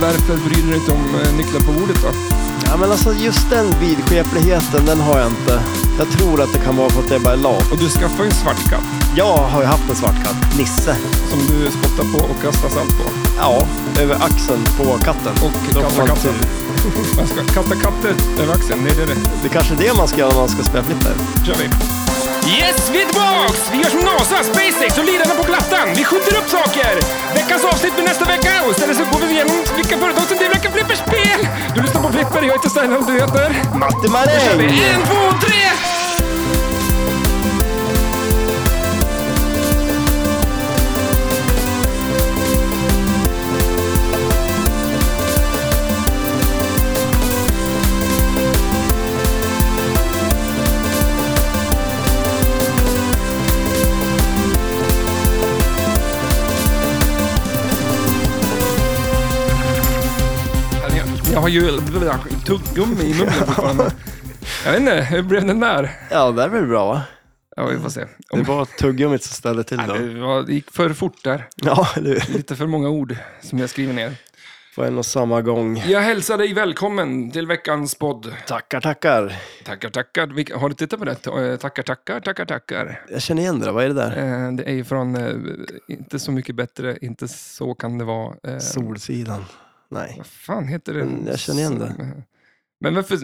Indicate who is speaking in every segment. Speaker 1: varför bryr du dig inte om eh, nycklar på bordet då?
Speaker 2: Ja, men alltså just den vidskepligheten, den har jag inte. Jag tror att det kan vara för att jag bara är lat.
Speaker 1: Och du skaffade ju en svart katt
Speaker 2: Jag har ju haft en svart katt, Nisse.
Speaker 1: som du spottar på och kastar salt på.
Speaker 2: Ja, över axeln på katten.
Speaker 1: Och
Speaker 2: Då får
Speaker 1: kastar
Speaker 2: man
Speaker 1: katten.
Speaker 2: tur.
Speaker 1: Jag ska kasta katter över axeln. Nej, det är rätt.
Speaker 2: typ- Det är kanske är det man ska göra när man ska spela flipper.
Speaker 1: kör vi. Yes, vi är tillbaks! Vi gör som NASA, SpaceX och lirarna på Plattan. Vi skjuter upp saker! Veckans avsnitt blir nästa vecka och istället så går vi igenom vilka företag som tillverkar flipperspel. Du lyssnar på Flipper, jag heter Stanhope, du heter?
Speaker 2: Matti
Speaker 1: kör vi.
Speaker 2: Maräng!
Speaker 1: En, två, tre! Jag- Jag har ju tuggummi i munnen fortfarande. Jag vet inte, hur blev den där?
Speaker 2: Ja, det är väl bra va?
Speaker 1: Ja, vi får se.
Speaker 2: Det
Speaker 1: Om,
Speaker 2: var tuggummit som ställde till då.
Speaker 1: det, var, det gick för fort där.
Speaker 2: Ja, du.
Speaker 1: Lite för många ord som jag skriver ner.
Speaker 2: På en och samma gång.
Speaker 1: Jag hälsar dig välkommen till veckans podd.
Speaker 2: Tackar, tackar.
Speaker 1: Tackar, tackar. Vilka- Har du tittat på det? Eh, Tackar, tackar, tackar, tackar.
Speaker 2: Jag känner igen det där. Vad är det där?
Speaker 1: Eh, Det är ju från eh, Inte så mycket bättre, inte så kan det vara. Eh,
Speaker 2: Solsidan. Nej.
Speaker 1: Vad fan heter
Speaker 2: Mm,
Speaker 1: den?
Speaker 2: jag känner igen det.
Speaker 1: Så- Men varför?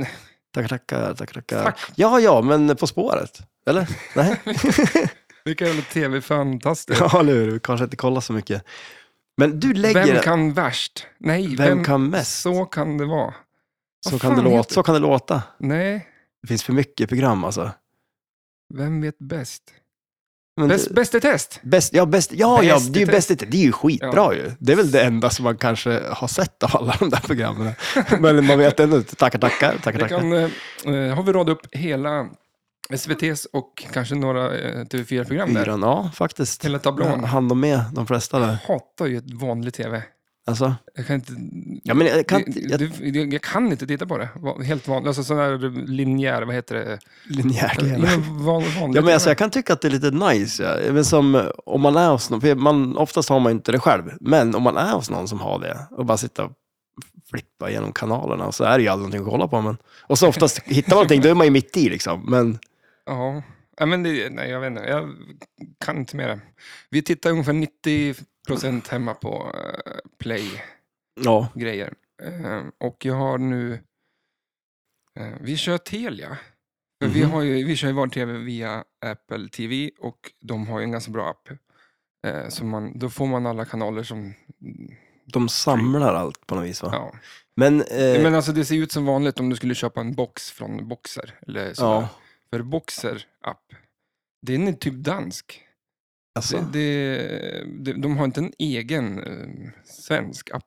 Speaker 2: Tackar, tackar, tackar, tackar.
Speaker 1: Tack.
Speaker 2: Ja, ja, men På spåret. Eller? Nej.
Speaker 1: Vilka jävla tv-fantaster.
Speaker 2: Ja, eller hur? Vi kanske inte kollar så mycket. Men du lägger...
Speaker 1: Vem kan värst? Nej,
Speaker 2: Vem kan mest?
Speaker 1: Så kan det vara.
Speaker 2: så,
Speaker 1: Vad
Speaker 2: kan det
Speaker 1: fan
Speaker 2: låta,
Speaker 1: heter-
Speaker 2: så kan det låta.
Speaker 1: Nej,
Speaker 2: Det finns för mycket program alltså.
Speaker 1: vem vet bäst?
Speaker 2: Men
Speaker 1: Bäst, bäst i test.
Speaker 2: Bäst, ja, bäst, ja,
Speaker 1: Bäst i
Speaker 2: ja, det är ju
Speaker 1: test.
Speaker 2: bäst i test. Det är ju skitbra
Speaker 1: Ja.
Speaker 2: ju. Det är väl det enda som man kanske har sett av alla de där programmen. Men man vet ändå inte. Tackar, tackar, tackar,
Speaker 1: Det
Speaker 2: tackar.
Speaker 1: kan, eh, eh, har vi radat upp hela SVTs och kanske några eh, TV4-program där.
Speaker 2: Fyran, ja, faktiskt.
Speaker 1: Hela tablån.
Speaker 2: Ja, Han de med, de flesta där.
Speaker 1: Jag hatar ju ett vanligt TV. Alltså,
Speaker 2: Alltså,
Speaker 1: jag kan inte...
Speaker 2: ja, men jag kan,
Speaker 1: det-
Speaker 2: jag,
Speaker 1: det- jag, jag kan inte titta på det. Va- Helt vanligt. Alltså sån här linjär, vad heter det?
Speaker 2: linjär
Speaker 1: Ja,
Speaker 2: tv.
Speaker 1: men van, vanligt
Speaker 2: Ja, men alltså,
Speaker 1: TV.
Speaker 2: jag kan tycka att det är lite nice. Ja. Men som, eh, om man är hos någon, för man, oftast har man ju inte det själv, men om man är hos någon som har det och bara sitta och flippa genom kanalerna och så är det ju aldrig någonting att kolla på. Men, och så oftast hittar man någonting, då är man ju mitt i liksom. Men
Speaker 1: Ja. Ja, men det, nej, jag vet inte. Jag kan inte med det. Vi tittar ungefär 90 procent hemma på eh, play-grejer.
Speaker 2: ja,
Speaker 1: Eh, och jag har nu... eh, vi kör Telia. För vi,
Speaker 2: Mhm.
Speaker 1: har ju, vi kör ju VAR-TV via Apple TV och de har ju en ganska bra app. Eh, så man, då får man alla kanaler som...
Speaker 2: de samlar allt på något vis. Va?
Speaker 1: Ja.
Speaker 2: Men, eh,
Speaker 1: Men alltså det ser ju ut som vanligt om du skulle köpa en box från Boxer. Eller sådär.
Speaker 2: ja,
Speaker 1: För Boxer app, den är typ dansk.
Speaker 2: alltså,
Speaker 1: Det, det, de, de har inte en egen eh, svensk app.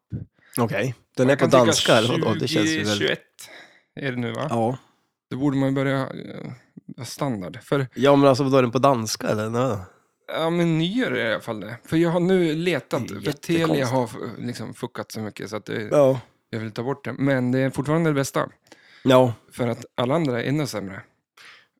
Speaker 2: okej. Den är
Speaker 1: Jag
Speaker 2: på
Speaker 1: kan tycka
Speaker 2: danska, eller vadå? Det känns ju
Speaker 1: 20,
Speaker 2: väldigt...
Speaker 1: 21 är det nu va?
Speaker 2: Ja.
Speaker 1: Då borde man ju börja eh, vara standard. För
Speaker 2: ja, men alltså, vadå, är den på danska eller? Nej.
Speaker 1: ja, men nyare är det i alla fall det. För jag har nu letat,
Speaker 2: Det är
Speaker 1: för Telia
Speaker 2: jättekonstigt.
Speaker 1: har eh, liksom fuckat så mycket så att det,
Speaker 2: Ja.
Speaker 1: jag vill ta bort det. Men det är fortfarande det bästa.
Speaker 2: Ja,
Speaker 1: För att alla andra är ännu sämre.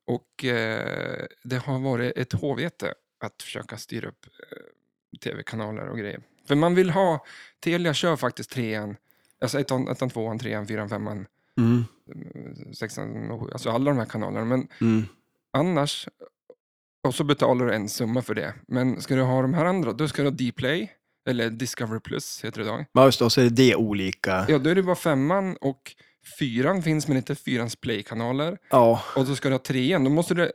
Speaker 1: Och eh, det har varit ett håvete att försöka styra upp eh, tv-kanaler och grejer. För man vill ha, Telia kör faktiskt trean, alltså ettan, ettan tvåan, trean, fyran, femman,
Speaker 2: mm,
Speaker 1: eh, sexan och sju, alltså alla de här kanalerna. Men
Speaker 2: mm.
Speaker 1: annars, och så betalar du en summa för det. Men ska du ha de här andra, då ska du ha Dplay, eller Discovery Plus heter det idag.
Speaker 2: Men just då, så är det olika.
Speaker 1: Ja, då är det bara femman och fyran finns men inte fyrans playkanaler.
Speaker 2: Ja.
Speaker 1: Och så ska du ha trean, då måste du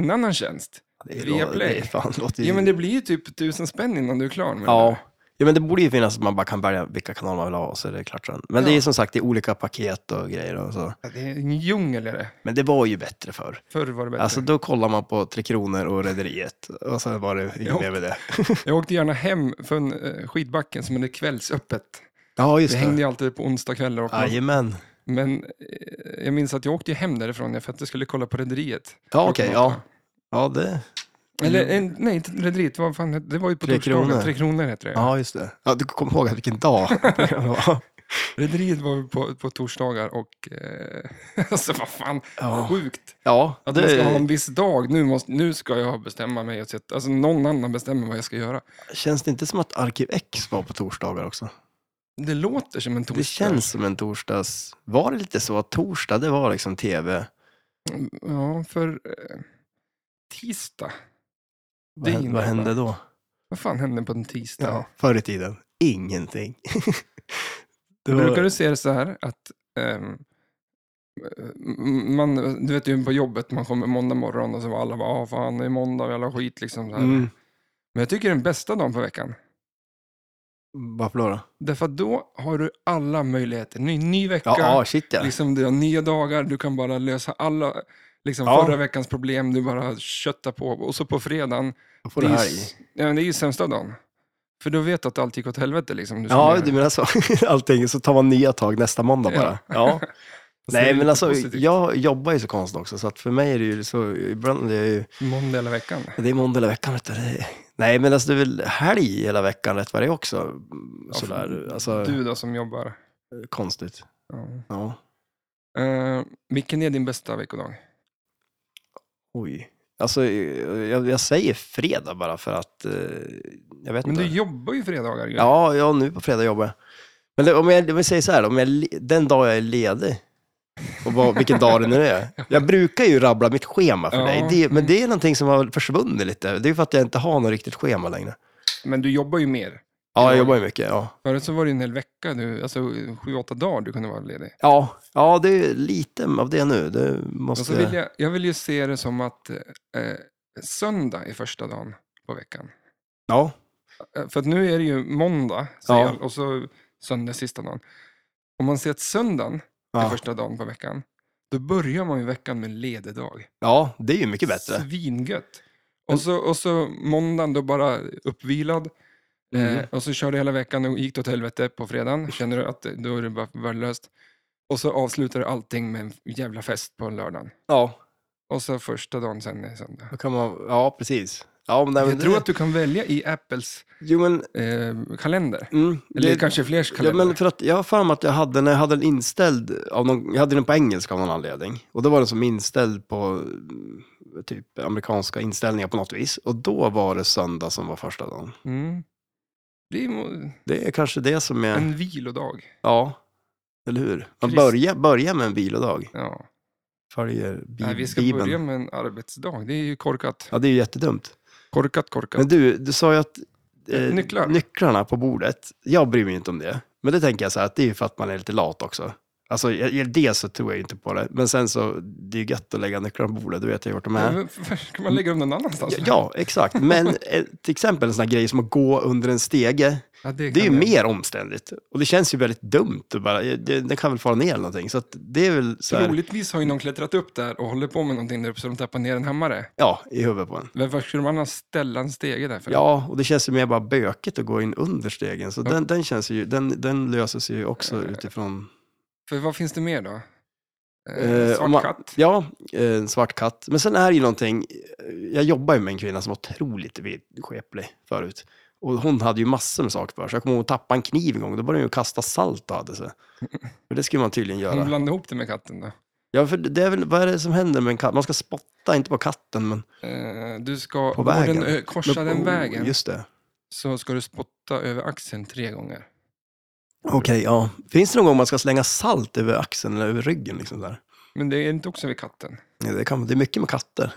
Speaker 1: en annan tjänst.
Speaker 2: Det är
Speaker 1: Via
Speaker 2: då-
Speaker 1: Play.
Speaker 2: Det är fan, låter ju...
Speaker 1: Ja, men det blir ju typ tusen spänn innan du är klar med det
Speaker 2: ja.
Speaker 1: där.
Speaker 2: ja, men det borde ju finnas att man bara kan välja vilka kanaler man vill ha och så är det klart sen. Men det
Speaker 1: Ja.
Speaker 2: är som sagt, det är olika paket och grejer och så.
Speaker 1: Ja, Det är en djungel är det.
Speaker 2: Men det var ju bättre förr.
Speaker 1: Förr var det bättre.
Speaker 2: Alltså då kollar man på Tre Kronor och Rederiet och sen var det inget
Speaker 1: Ja.
Speaker 2: mer med det.
Speaker 1: Jag åkte gärna hem från eh, skidbacken som hade kvällsöppet.
Speaker 2: Ja,
Speaker 1: Det
Speaker 2: just
Speaker 1: hängde
Speaker 2: det.
Speaker 1: ju alltid på onsdagskvällar. och-
Speaker 2: Jajamän.
Speaker 1: Men eh, jag minns att jag åkte ju hem därifrån för att jag skulle kolla på Rederiet.
Speaker 2: Ja, okej.
Speaker 1: Klockan
Speaker 2: ja.
Speaker 1: åtta.
Speaker 2: ja, det.
Speaker 1: Eller en, nej, inte Rederiet. Vad fan, hette- det var ju på
Speaker 2: Mm. Tre
Speaker 1: torsdagar.
Speaker 2: Kronor.
Speaker 1: Tre Kronor heter det.
Speaker 2: Ja, just det. Ja, du kommer ihåg att vilken dag det var.
Speaker 1: Rederiet var ju på, på torsdagar och... Eh, alltså vad fan,
Speaker 2: Ja.
Speaker 1: sjukt.
Speaker 2: Ja,
Speaker 1: Att man ska ha en
Speaker 2: det
Speaker 1: viss dag, nu, måste, nu ska jag bestämma mig. och sätta- Alltså någon annan bestämmer vad jag ska göra.
Speaker 2: känns det inte som att Arkiv X var på torsdagar också?
Speaker 1: Det låter som en torsdag.
Speaker 2: Det känns som en torsdags... Var det lite så att torsdag, det var liksom tv?
Speaker 1: Ja, för eh, tisdag.
Speaker 2: Vad,
Speaker 1: Det
Speaker 2: hände- vad
Speaker 1: innebär-
Speaker 2: hände då?
Speaker 1: Vad fan hände på en tisdag?
Speaker 2: Ja, förr i tiden, ingenting. det var,
Speaker 1: Brukar du se det så här att ehm, m- man, du vet ju på jobbet, man kommer måndag morgon och så var alla bara, ah, fan det är måndag, jävla skit liksom. Så här.
Speaker 2: Mm,
Speaker 1: Men jag tycker det är den bästa dagen på veckan.
Speaker 2: varför då? då?
Speaker 1: Därför att då har du alla möjligheter. Ny, ny vecka,
Speaker 2: Ja, ja, shit ja.
Speaker 1: liksom, du har nya dagar, du kan bara lösa alla liksom,
Speaker 2: Ja.
Speaker 1: förra veckans problem, du bara köttar på. Och så på fredagen,
Speaker 2: Då får
Speaker 1: det
Speaker 2: du
Speaker 1: är,
Speaker 2: helg.
Speaker 1: ju, ja, men det är ju sämsta dagen. För då vet du att allt gick åt helvete. Liksom, du
Speaker 2: Ja,
Speaker 1: summerar.
Speaker 2: du menar så. Allting, så tar man nya tag nästa måndag bara. Ja.
Speaker 1: Så det är
Speaker 2: Nej, men
Speaker 1: lite
Speaker 2: alltså,
Speaker 1: positivt.
Speaker 2: jag jobbar ju så konstigt också, så att för mig är det ju så, ibland är jag ju,
Speaker 1: Måndag hela veckan.
Speaker 2: det är måndag hela veckan. Vet du. Det är- Nej, men alltså, det är väl helg hela veckan rätt vad det är också. Mm,
Speaker 1: Ja,
Speaker 2: Sådär,
Speaker 1: för
Speaker 2: alltså,
Speaker 1: Du då som jobbar.
Speaker 2: konstigt.
Speaker 1: Ja.
Speaker 2: Ja,
Speaker 1: Eh, vilken är din bästa veckodag?
Speaker 2: oj. Alltså, jag, jag säger fredag bara för att, eh, jag vet
Speaker 1: Men
Speaker 2: inte.
Speaker 1: du jobbar ju fredagar. ju.
Speaker 2: Ja, ja, nu på fredag jobbar jag. Men det, om, jag, om jag säger så här, om jag, är le- den dag jag är ledig, och vad, vilken dag det nu är. Jag brukar ju rabbla mitt schema för
Speaker 1: Ja.
Speaker 2: dig, det, men det är någonting som har försvunnit lite. Det är för att jag inte har något riktigt schema längre.
Speaker 1: Men du jobbar ju mer.
Speaker 2: Ja, jag jobbar ju mycket. Ja,
Speaker 1: Förut så var det ju en hel vecka, du, alltså sju, åtta dagar du kunde vara ledig.
Speaker 2: ja, ja det är lite av det nu. Det
Speaker 1: Och
Speaker 2: måste...
Speaker 1: så vill jag, jag vill ju se det som att eh, söndag är första dagen på veckan.
Speaker 2: Ja,
Speaker 1: Eh, För att nu är det ju måndag så
Speaker 2: Ja.
Speaker 1: jag, och så söndag är sista dagen. Om man ser att söndagen är
Speaker 2: ja.
Speaker 1: första dagen på veckan, då börjar man ju veckan med en ledig dag.
Speaker 2: ja, det är ju mycket bättre.
Speaker 1: Svingött. Och så, och så måndagen då bara uppvilad.
Speaker 2: Mm.
Speaker 1: Eh, och så körde hela veckan och gick det åt helvete på fredagen. Känner du att då är det bara värdelöst. Och så avslutar du allting med en jävla fest på lördagen.
Speaker 2: Ja,
Speaker 1: Och så första dagen sen är söndag.
Speaker 2: då kan man... ja precis. Ja, men, nej, men
Speaker 1: Jag tror att du kan välja i Apples
Speaker 2: Jo, men...
Speaker 1: eh, kalender.
Speaker 2: Mm,
Speaker 1: Eller
Speaker 2: det-
Speaker 1: kanske flers
Speaker 2: Ja,
Speaker 1: kalender.
Speaker 2: men för att jag har för mig att jag hade, när jag hade den inställd, av någon, jag hade den på engelska av någon anledning. Och då var den som inställd på mm, typ amerikanska inställningar på något vis. Och då var det söndag som var första dagen.
Speaker 1: Mm. Det är mo-
Speaker 2: Det är kanske det som är,
Speaker 1: en vilodag.
Speaker 2: ja, eller hur?
Speaker 1: Mm.
Speaker 2: Man
Speaker 1: Krist-
Speaker 2: börjar, börjar med en vilodag,
Speaker 1: Ja.
Speaker 2: följer bi-
Speaker 1: Nej, vi ska
Speaker 2: Bibeln.
Speaker 1: börja med en arbetsdag. Det är ju korkat.
Speaker 2: Ja, det är ju jättedumt.
Speaker 1: Korkat, korkat.
Speaker 2: Men du, du sa ju att eh,
Speaker 1: Nycklar.
Speaker 2: nycklarna på bordet, jag bryr mig inte om det. Men det tänker jag så här, att det är ju för att man är lite lat också. Alltså, jag- jag- det så tror jag inte på det. Men sen så, det är ju gött att lägga nycklarna på bordet, då vet jag vart de är.
Speaker 1: Men varför Ska man lägga dem någon annanstans?
Speaker 2: Ja, exakt. Men eh, till exempel en sån här grej som att gå under en stege,
Speaker 1: Ja,
Speaker 2: det är ju
Speaker 1: kan jag-
Speaker 2: mer omständigt. Och det känns ju väldigt dumt. att Bara, eh, det, det kan väl fara ner eller någonting. Så att det är väl så här,
Speaker 1: Troligtvis har ju någon klättrat upp där och håller på med någonting där uppe så de tappar ner en hammare.
Speaker 2: ja, i huvudet på en.
Speaker 1: Varför skulle man annars ställa en stege där? För?
Speaker 2: Ja, och det känns ju mer bara bökigt att gå in under stegen. Så den, den känns ju, den, den löses ju också utifrån
Speaker 1: för vad finns det mer då? Eh,
Speaker 2: Eh,
Speaker 1: svart
Speaker 2: om man-
Speaker 1: katt?
Speaker 2: Ja, eh, en svart katt. Men sen är det ju någonting, eh, jag jobbar ju med en kvinna som var otroligt skeplig förut. Och hon hade ju massor med saker för sig. Jag kommer ihåg att hon tappade en kniv en gång, då började hon ju kasta salt och hade sig. För det skulle man tydligen
Speaker 1: Hon
Speaker 2: göra.
Speaker 1: blandade ihop det med katten då.
Speaker 2: Ja, för det är väl, vad är det som händer med en katt? Man ska spotta, inte på katten, men
Speaker 1: Eh, du ska,
Speaker 2: På
Speaker 1: går den,
Speaker 2: vägen.
Speaker 1: ö, korsa
Speaker 2: men, oh,
Speaker 1: den vägen
Speaker 2: Just det.
Speaker 1: så ska du spotta över axeln tre gånger.
Speaker 2: Okej, ja. Finns det någon gång man ska slänga salt över axeln eller över ryggen? Liksom där?
Speaker 1: Men det är inte också vid katten.
Speaker 2: Ja, Det, kan, det är mycket med katter.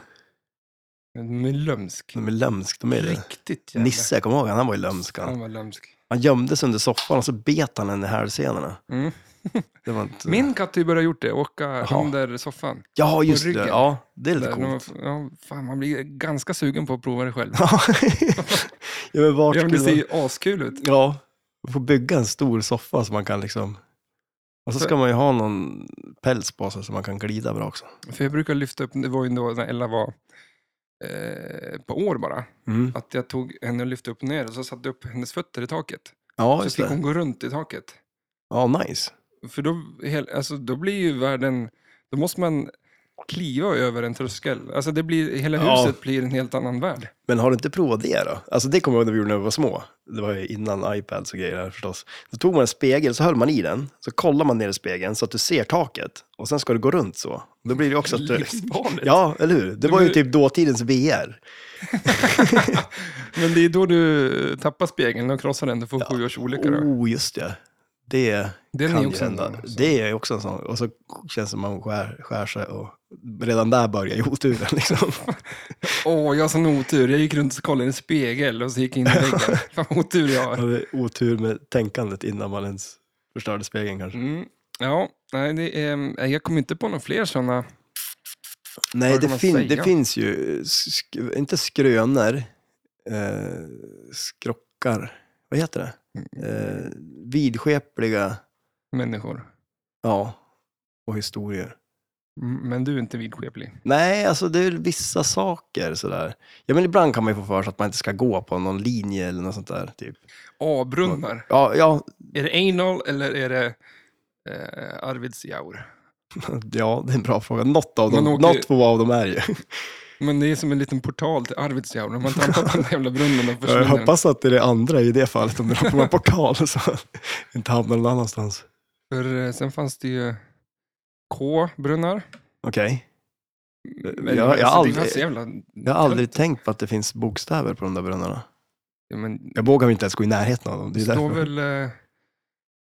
Speaker 1: De är lömsk.
Speaker 2: De är lömsk, de är det.
Speaker 1: Riktigt jävla...
Speaker 2: Nisse, jag kommer ihåg, han han var ju lömsk. han.
Speaker 1: Han var lömsk.
Speaker 2: Han gömde sig under soffan och så bet han henne i hälsenorna.
Speaker 1: Mm.
Speaker 2: Det var inte...
Speaker 1: Min katt har ju börjat gjort det, åka
Speaker 2: Jaha.
Speaker 1: under soffan.
Speaker 2: Ja, just det.
Speaker 1: ryggen.
Speaker 2: Ja, det är lite
Speaker 1: Där, när man,
Speaker 2: coolt.
Speaker 1: ja, fan, man blir ganska sugen på att prova det själv.
Speaker 2: ja, men vart
Speaker 1: Ja, men det
Speaker 2: skulle
Speaker 1: ser
Speaker 2: man...
Speaker 1: ju askul ut.
Speaker 2: Ja, man får bygga en stor soffa så man kan liksom... Och så ska man ju ha någon päls på sig så man kan glida bra också.
Speaker 1: För jag brukar lyfta upp, det var ju då när Ella var eh, på år bara,
Speaker 2: Mm.
Speaker 1: att jag tog henne och lyfte upp ner och så satte jag upp hennes fötter i taket.
Speaker 2: Ja,
Speaker 1: så
Speaker 2: just
Speaker 1: fick
Speaker 2: det.
Speaker 1: hon gå runt i taket.
Speaker 2: Ja, nice.
Speaker 1: För då, hel, alltså, då blir ju världen, då måste man kliva över en tröskel. Alltså det blir, hela
Speaker 2: Ja.
Speaker 1: huset blir en helt annan värld.
Speaker 2: Men har du inte provat det då? Alltså det kommer jag ihåg när vi gjorde när vi var små. Det var ju innan iPads och grejer här förstås. Då tog man en spegel, så höll man i den, så kollar man ner i spegeln så att du ser taket. Och sen ska du gå runt så. Då blir det ju också att du...
Speaker 1: Livsfarligt.
Speaker 2: Ja, eller hur? Det
Speaker 1: Det
Speaker 2: var ju
Speaker 1: blir-
Speaker 2: typ dåtidens VR.
Speaker 1: Men det är då du tappar spegeln och krossar den, du får sju års olycka då.
Speaker 2: Oh, just det. Det
Speaker 1: Den
Speaker 2: kan
Speaker 1: är
Speaker 2: ju
Speaker 1: också en
Speaker 2: hända.
Speaker 1: sån. alltså.
Speaker 2: Det är också en sån. Och så känns det som man skär, skär sig och redan där börjar ju oturen liksom.
Speaker 1: Åh, jag har sån otur. Jag gick runt och kollade i en spegel och så gick jag in i väggen. Fan vad otur jag har.
Speaker 2: Man hade otur med tänkandet innan man ens förstörde spegeln kanske.
Speaker 1: Mm. Ja, nej, det är, nej, jag kommer inte på några fler sådana.
Speaker 2: Nej,
Speaker 1: Vad
Speaker 2: det,
Speaker 1: kan man
Speaker 2: fin-
Speaker 1: säga?
Speaker 2: det finns ju, eh, sk- inte skrönor, eh, skrockar, vad heter det?
Speaker 1: Mm.
Speaker 2: Eh, vidskepliga,
Speaker 1: människor.
Speaker 2: ja, och historier.
Speaker 1: Mm, Men du är inte vidskeplig.
Speaker 2: Nej, alltså det är väl vissa saker sådär. Ja, men ibland kan man ju få för sig att man inte ska gå på någon linje eller något sånt där. Typ.
Speaker 1: A-brunnar.
Speaker 2: Ja, ja,
Speaker 1: Är det anal eller är det eh, Arvidsjaur?
Speaker 2: ja, det är en bra fråga. Något av
Speaker 1: Man
Speaker 2: dem,
Speaker 1: åker-
Speaker 2: något på av dem är ju.
Speaker 1: Men det är som en liten portal till Arvidsjaur. Om man trampar på den jävla brunnen och försvinner.
Speaker 2: Jag
Speaker 1: den.
Speaker 2: hoppas att det är det andra i det fallet, om det är på en pokal så att det inte hamnar någon annanstans.
Speaker 1: För eh, sen fanns det ju K-brunnar.
Speaker 2: Okej.
Speaker 1: Men
Speaker 2: jag har
Speaker 1: Alltså, det var
Speaker 2: aldrig-
Speaker 1: Mm, så jävla...
Speaker 2: Jag har aldrig tänkt på att det finns bokstäver på de där brunnarna.
Speaker 1: Ja, men
Speaker 2: Jag vågar ju inte ens gå i närheten av dem. Det
Speaker 1: det
Speaker 2: är
Speaker 1: står
Speaker 2: därför.
Speaker 1: väl... Eh,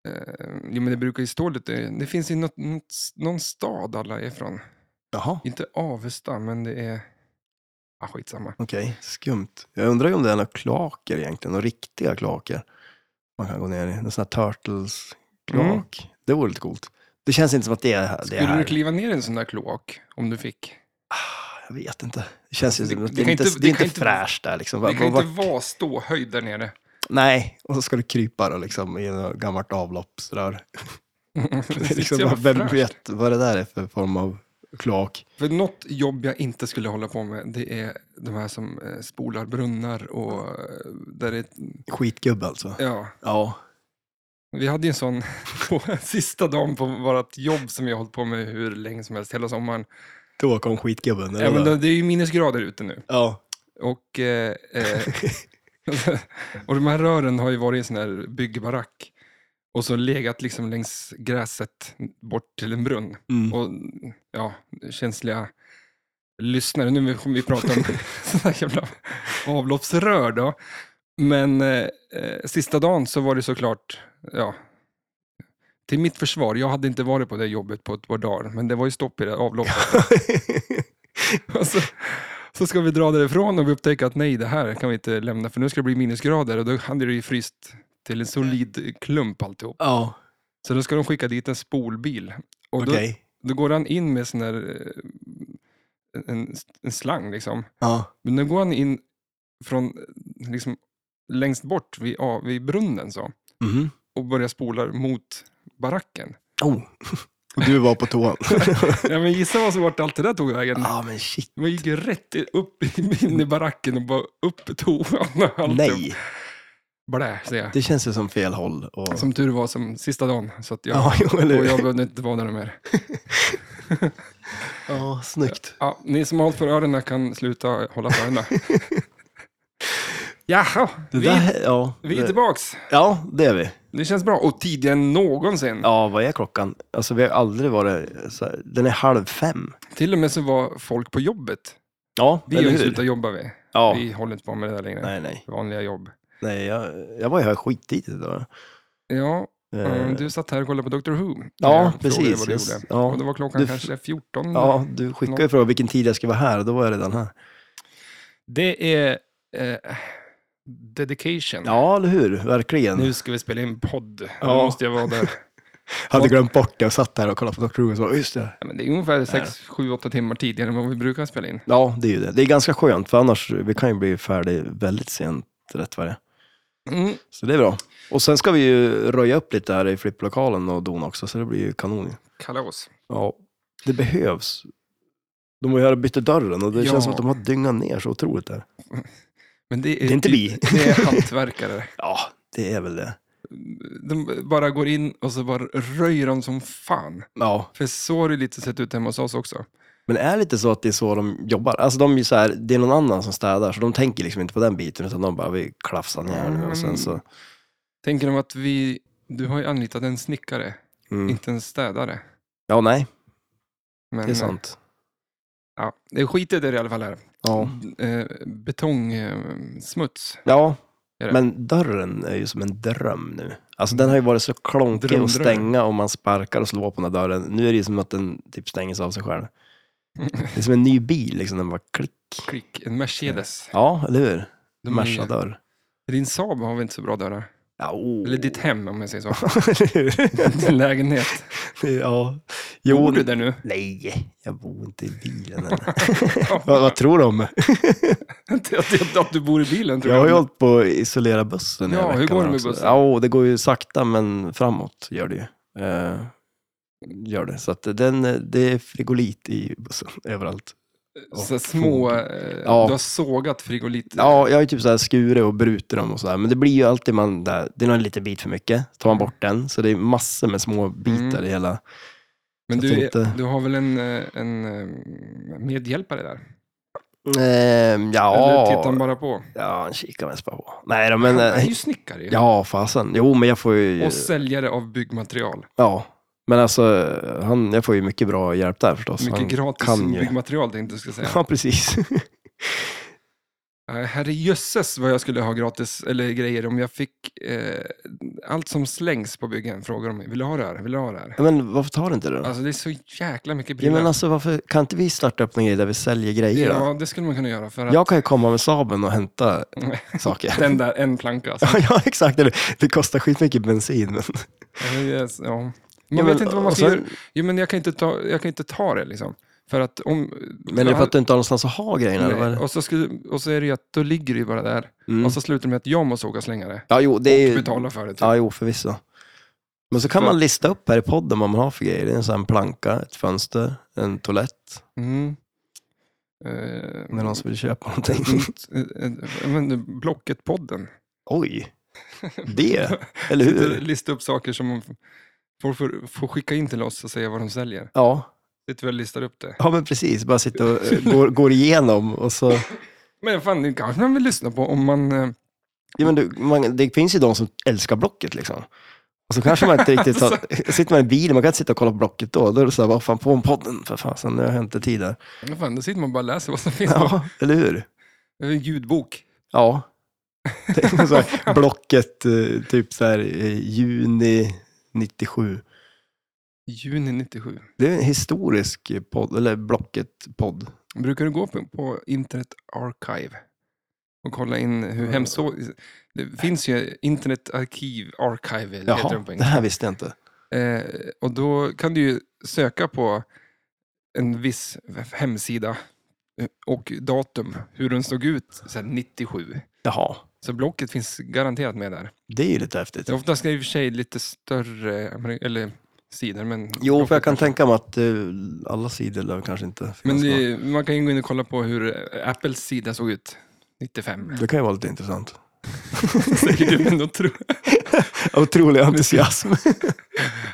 Speaker 1: eh, jo, men det brukar ju stå lite... Det finns ju något, något, någon stad alla är ifrån.
Speaker 2: Jaha,
Speaker 1: Inte Avesta, men det är... Ah, skitsamma.
Speaker 2: okej. Skumt. Jag undrar ju om det är några kloaker egentligen, några riktiga kloaker man kan gå ner i. En sån här Turtles-kloak. Det vore lite coolt. Det känns inte som att det är här.
Speaker 1: Mm.
Speaker 2: Det är
Speaker 1: Skulle du
Speaker 2: här.
Speaker 1: kliva ner i en sån där kloak om du fick?
Speaker 2: Ah, jag vet inte. Det känns ju
Speaker 1: Det-
Speaker 2: som att
Speaker 1: det
Speaker 2: det, är
Speaker 1: kan
Speaker 2: inte,
Speaker 1: inte-
Speaker 2: det
Speaker 1: det
Speaker 2: är
Speaker 1: kan inte-
Speaker 2: inte fräscht där liksom.
Speaker 1: Det
Speaker 2: Vad-
Speaker 1: kan
Speaker 2: vad-
Speaker 1: inte vara ståhöjd där nere.
Speaker 2: Nej, och så ska du krypa då liksom i något gammalt avloppsrör.
Speaker 1: Det är så
Speaker 2: liksom,
Speaker 1: jävla
Speaker 2: bara, vem
Speaker 1: fräscht.
Speaker 2: vet vad det där är för form av kloak?
Speaker 1: För något jobb jag inte skulle hålla på med, det är de här som eh, spolar brunnar och eh, där det...
Speaker 2: Skitgubbe alltså.
Speaker 1: Ja,
Speaker 2: Ja.
Speaker 1: vi hade ju en sån på sista dagen på vårt jobb som vi har hållit på med hur länge som helst, hela sommaren.
Speaker 2: Då kom skitgubben. eller
Speaker 1: Ja, men
Speaker 2: vad?
Speaker 1: det, det är ju minusgrader ute nu.
Speaker 2: ja.
Speaker 1: Och, eh, eh, och de här rören har ju varit i en sån här byggbarack och så legat liksom längs gräset bort till en brunn.
Speaker 2: Mm.
Speaker 1: och ja, känsliga lyssnare. Nu kommer vi prata om sådana här jävla avloppsrör då. Men eh, eh, sista dagen så var det såklart, ja, till mitt försvar, jag hade inte varit på det jobbet på ett par dagar, men det var ju stopp i det avloppet. Och så, så ska vi dra därifrån och vi upptäcker att nej, det här kan vi inte lämna, för nu ska det bli minusgrader och då hade det ju fryst till en solid klump alltihop.
Speaker 2: ja,
Speaker 1: Så då ska de skicka dit en spolbil. Och då,
Speaker 2: okej.
Speaker 1: då går han in med sån där, eh, en, en slang liksom.
Speaker 2: Ja.
Speaker 1: Men nu går han in från eh, liksom, längst bort vid, ja, vid brunnen så,
Speaker 2: Mhm.
Speaker 1: och börjar spola mot baracken.
Speaker 2: Oh. Och du var på toan.
Speaker 1: Ja, men gissa vad som vart allt det där tog vägen.
Speaker 2: Ja, men shit.
Speaker 1: Man gick ju rätt i- upp i- in i baracken och bara upp i toan. och allt.
Speaker 2: Nej,
Speaker 1: Blä, säger jag.
Speaker 2: det känns ju som fel håll. Och...
Speaker 1: Som tur var som sista dagen, så att jag,
Speaker 2: Ja, jo, eller
Speaker 1: och jag
Speaker 2: hur?
Speaker 1: behövde inte vara där mer.
Speaker 2: Ja, snyggt.
Speaker 1: Ja, ni som har hållit för öronen kan sluta hålla för öronen. Jaha,
Speaker 2: Det
Speaker 1: vi,
Speaker 2: där, ja,
Speaker 1: vi är
Speaker 2: det,
Speaker 1: tillbaks.
Speaker 2: ja, det är vi.
Speaker 1: Det känns bra. Och tidigare än någonsin.
Speaker 2: Ja, vad är klockan? Alltså, vi har aldrig varit så här. Den är halv fem.
Speaker 1: Till och med så var folk på jobbet.
Speaker 2: Ja,
Speaker 1: Vi har
Speaker 2: eller
Speaker 1: ju
Speaker 2: hur?
Speaker 1: slutat jobba vi.
Speaker 2: Ja.
Speaker 1: Vi håller inte på med det där längre.
Speaker 2: Nej, nej.
Speaker 1: Vanliga jobb.
Speaker 2: nej jag, jag var ju här skittidigt idag.
Speaker 1: Ja,
Speaker 2: Eh,
Speaker 1: mm, du satt här och kollade på Doctor Who.
Speaker 2: Ja,
Speaker 1: Jag frågade
Speaker 2: precis,
Speaker 1: Vad du
Speaker 2: just-
Speaker 1: gjorde.
Speaker 2: ja.
Speaker 1: Och det var klockan
Speaker 2: Du-
Speaker 1: kanske 14.
Speaker 2: Ja, du skickade ju frågan vilken tid jag skulle vara här och då var jag redan här.
Speaker 1: Det är eh, dedication.
Speaker 2: Ja, eller hur? Verkligen.
Speaker 1: Nu ska vi spela in podd.
Speaker 2: Ja.
Speaker 1: Nu måste jag vara där.
Speaker 2: Hade glömt bort det och satt där och kollade på Dr. Who och så bara, just det.
Speaker 1: Ja, men det är ungefär 6, 7, 8 timmar tidigare än vad vi brukar spela in.
Speaker 2: Ja, det är ju det. Det är ganska skönt, för annars vi kan ju bli färdig väldigt sent rätt vad det är.
Speaker 1: Mm.
Speaker 2: Så det är bra. Och sen ska vi ju röja upp lite här i flipplokalen och don också, så det blir ju kanon. ju.
Speaker 1: Kalas.
Speaker 2: Ja, det behövs. De har ju bytt dörren och det
Speaker 1: Ja.
Speaker 2: känns som att de har dyngat ner så otroligt där.
Speaker 1: Men det är,
Speaker 2: Det är inte
Speaker 1: typ-
Speaker 2: vi.
Speaker 1: Det är hantverkare.
Speaker 2: Ja, det är väl det.
Speaker 1: De bara går in och så bara röjer de som fan.
Speaker 2: Ja,
Speaker 1: För så har det lite sett ut hemma hos oss också.
Speaker 2: men det är lite så att det är så de jobbar. Alltså de är ju så här, det är någon annan som städar, så de tänker liksom inte på den biten, utan de bara, vi klafsar ner nu och sen så.
Speaker 1: Tänker de att vi, du har ju anlitat en snickare,
Speaker 2: Mm.
Speaker 1: inte en städare.
Speaker 2: Ja, nej,
Speaker 1: Men, eh,
Speaker 2: det är sant.
Speaker 1: Ja, Eh, det är skitigt är det i alla fall här.
Speaker 2: Ja.
Speaker 1: eh, Betongsmuts.
Speaker 2: Ja,
Speaker 1: Är det?
Speaker 2: Men dörren är ju som en dröm nu. Alltså den har ju varit så klonkig
Speaker 1: Drömdörr.
Speaker 2: att stänga om man sparkar och slår på den här dörren. Nu är det ju som att den typ stängs av sig själv. Det är som en ny bil, liksom den bara klick.
Speaker 1: Klick, en Mercedes.
Speaker 2: Ja, eller hur?
Speaker 1: De är ju-
Speaker 2: Merca-dörr.
Speaker 1: Din Saab har väl inte så bra dörrar?
Speaker 2: Ja, oh.
Speaker 1: Eller ditt hem om jag säger så. Din lägenhet.
Speaker 2: ja.
Speaker 1: Jo,
Speaker 2: Jo,
Speaker 1: Bor du där nu?
Speaker 2: Nej, jag bor inte i bilen. än. vad, vad tror du om mig?
Speaker 1: Att- att- Att du bor i bilen tror
Speaker 2: Jag har ju
Speaker 1: jag.
Speaker 2: hållit på att isolera bussen i
Speaker 1: Ja,
Speaker 2: den här
Speaker 1: hur går
Speaker 2: veckan
Speaker 1: det med
Speaker 2: också.
Speaker 1: bussen?
Speaker 2: Ja, och det går ju sakta men framåt gör det ju. Eh, gör det. Så att den, eh, det är frigolit i bussen överallt.
Speaker 1: Så små, eh,
Speaker 2: Ja.
Speaker 1: du har sågat frigolit.
Speaker 2: Ja, jag har ju typ så här skurit och brutit dem och sådär. Men det blir ju alltid man, där, det är någon liten bit för mycket. Så tar man bort den. Så det är massor med små bitar
Speaker 1: Mm.
Speaker 2: i hela.
Speaker 1: Men
Speaker 2: jag
Speaker 1: du, är-
Speaker 2: tänkte-
Speaker 1: du har väl en, eh, en eh, medhjälpare där?
Speaker 2: Ehm,
Speaker 1: Eller tittar han
Speaker 2: ja,
Speaker 1: bara på?
Speaker 2: ja, han kikar mest bara på. Nej då,
Speaker 1: Men,
Speaker 2: men...
Speaker 1: han är
Speaker 2: eh,
Speaker 1: ju snickare ju.
Speaker 2: Ja, fasen. Jo, men jag får ju...
Speaker 1: Och säljare av byggmaterial.
Speaker 2: Ja, men alltså, han, jag får ju mycket bra hjälp där förstås. han
Speaker 1: Mycket gratis
Speaker 2: kan ju.
Speaker 1: byggmaterial tänkte jag ska säga.
Speaker 2: Ja, precis.
Speaker 1: Eh, Herrejösses vad jag skulle ha gratis, eller grejer, om jag fick eh, allt som slängs på byggen frågar de mig, vill du ha det här? Vill du ha det här?
Speaker 2: Ja, men varför tar du inte det då?
Speaker 1: Alltså det är så jäkla mycket
Speaker 2: ja,
Speaker 1: prylar.
Speaker 2: men alltså, varför kan inte vi starta upp en grej där vi säljer grejer då?
Speaker 1: ja, det skulle man kunna göra för att
Speaker 2: Jag kan ju komma med Saben och hämta saker.
Speaker 1: den där en planka alltså.
Speaker 2: Ja, ja, exakt. eller- Det kostar skitmycket bensin. Men...
Speaker 1: Eh, yes, ja. Man
Speaker 2: Ja, men-
Speaker 1: vet inte vad man
Speaker 2: och
Speaker 1: ska
Speaker 2: sen-
Speaker 1: göra. Jo, men jag kan, inte ta, jag kan inte ta det liksom. För att om...
Speaker 2: Men är det för att du inte har någonstans att ha grejerna? eller vad är
Speaker 1: Nej,
Speaker 2: det?
Speaker 1: och, så skulle, och så är det ju att då ligger det ju bara där.
Speaker 2: Mm.
Speaker 1: Och så slutar det med att jag måste åka och slänga det.
Speaker 2: Ja, jo, det är
Speaker 1: Och
Speaker 2: ju...
Speaker 1: betala för det. Typ.
Speaker 2: Ja, jo, förvisso. Men så kan
Speaker 1: För-
Speaker 2: man lista upp här i podden vad man har för grejer. Det är en sån här planka, ett fönster, en toalett.
Speaker 1: Mm. Eh,
Speaker 2: Om det är någon som vill köpa någonting.
Speaker 1: Mm, eh, Men Blocket-podden.
Speaker 2: Oj, det, eller hur?
Speaker 1: Lista upp saker som folk får, får skicka in till oss och säga vad de säljer.
Speaker 2: Ja,
Speaker 1: Sitter vi och listar upp det.
Speaker 2: ja men precis. Bara sitta och eh, går, går igenom och så.
Speaker 1: Men fan, det kanske man vill lyssna på om man... eh,
Speaker 2: Ja, men du, man, det finns ju de som älskar Blocket liksom. Och så kanske man inte riktigt
Speaker 1: Alltså.
Speaker 2: har, sitter man i bilen, man kan inte sitta och kolla på Blocket då. Då är det så här, vad fan, på en podden för fasen, nu har jag inte tid där.
Speaker 1: men Fan, då sitter man bara och läser vad som finns. på
Speaker 2: Ja, eller hur?
Speaker 1: En ljudbok.
Speaker 2: Ja. Det är så här, blocket, eh, typ så här, eh, juni 97.
Speaker 1: Juni 97.
Speaker 2: Det är en historisk podd, eller Blocket-podd.
Speaker 1: Brukar du gå på, på Internet Archive och kolla in hur
Speaker 2: Mm.
Speaker 1: hemsida... Det finns ju Internet Arkiv Archive, heter
Speaker 2: Jaha,
Speaker 1: de på
Speaker 2: det
Speaker 1: engelska.
Speaker 2: här visste jag inte.
Speaker 1: Eh, och då kan du ju söka på en viss hemsida eh, och datum, hur den såg ut sen 97.
Speaker 2: Jaha,
Speaker 1: Så blocket finns garanterat med där.
Speaker 2: det är ju lite häftigt.
Speaker 1: Det är oftast i och för sig lite större amer- eller, sidor. Men
Speaker 2: Jo, för jag kan
Speaker 1: kanske-
Speaker 2: tänka mig att eh, alla sidor lär kanske inte
Speaker 1: Men
Speaker 2: finnas.
Speaker 1: det,
Speaker 2: Det...
Speaker 1: man kan ju gå in och kolla på hur eh, Apples sida såg ut 95.
Speaker 2: det kan ju vara lite intressant.
Speaker 1: Säkert, men då tror
Speaker 2: Otrolig entusiasm.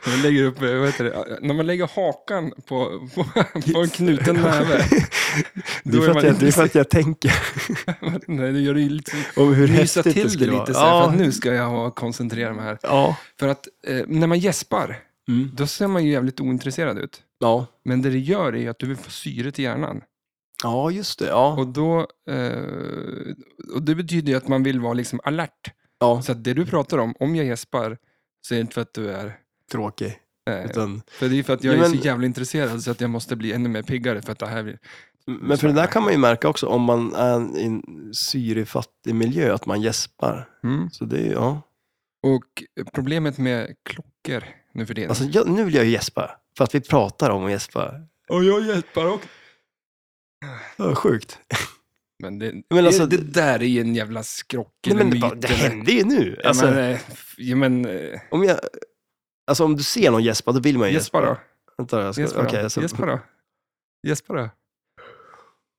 Speaker 1: man lägger upp, eh, vad heter det, när man lägger hakan på, på, på en knuten näve.
Speaker 2: det,
Speaker 1: Då
Speaker 2: är
Speaker 1: är
Speaker 2: för
Speaker 1: man
Speaker 2: att jag, det är för att jag tänker
Speaker 1: Nej, det gör det ju lite
Speaker 2: om hur
Speaker 1: Mysa
Speaker 2: häftigt
Speaker 1: till
Speaker 2: det
Speaker 1: det
Speaker 2: skulle vara.
Speaker 1: lite så här, för att
Speaker 2: ja,
Speaker 1: nu ska jag ha- koncentrera mig här.
Speaker 2: ja.
Speaker 1: För att eh, när man gäspar,
Speaker 2: Mm.
Speaker 1: då ser man ju jävligt ointresserad ut.
Speaker 2: ja.
Speaker 1: Men det det gör är ju att du vill få syre till hjärnan.
Speaker 2: ja, just det. Ja.
Speaker 1: Och, då, eh, och det betyder ju att man vill vara liksom alert.
Speaker 2: ja.
Speaker 1: Så att det du pratar om, om jag gäspar, så är det inte för att du är...
Speaker 2: Tråkig.
Speaker 1: Eh,
Speaker 2: Utan,
Speaker 1: för det är för att jag
Speaker 2: Ja,
Speaker 1: är
Speaker 2: men-
Speaker 1: så jävla intresserad så att jag måste bli ännu mer piggare för att det här... blir-
Speaker 2: men för det där kan man ju märka också om man är i en syrefattig miljö, att man gäspar.
Speaker 1: Mm.
Speaker 2: Så det är ju- ja.
Speaker 1: Och problemet med klockor nu för tiden...
Speaker 2: Alltså, jag, nu vill jag ju gäspa, för att vi pratar om att gäspa.
Speaker 1: och jag gäspar också.
Speaker 2: Ja, sjukt.
Speaker 1: Men det,
Speaker 2: Men alltså-
Speaker 1: det, det där är ju en jävla skrock.
Speaker 2: Nej,
Speaker 1: eller
Speaker 2: men det,
Speaker 1: myt
Speaker 2: bara, det
Speaker 1: eller-
Speaker 2: händer ju nu. Alltså,
Speaker 1: ja, men, eh, f- ja, men eh,
Speaker 2: om, jag, alltså, om du ser någon gäspa, då vill man ju
Speaker 1: gäspa då.
Speaker 2: Vänta, jag ska...
Speaker 1: Gäspa
Speaker 2: Okej,
Speaker 1: då.
Speaker 2: alltså...
Speaker 1: Gäspa då. Gäspa då.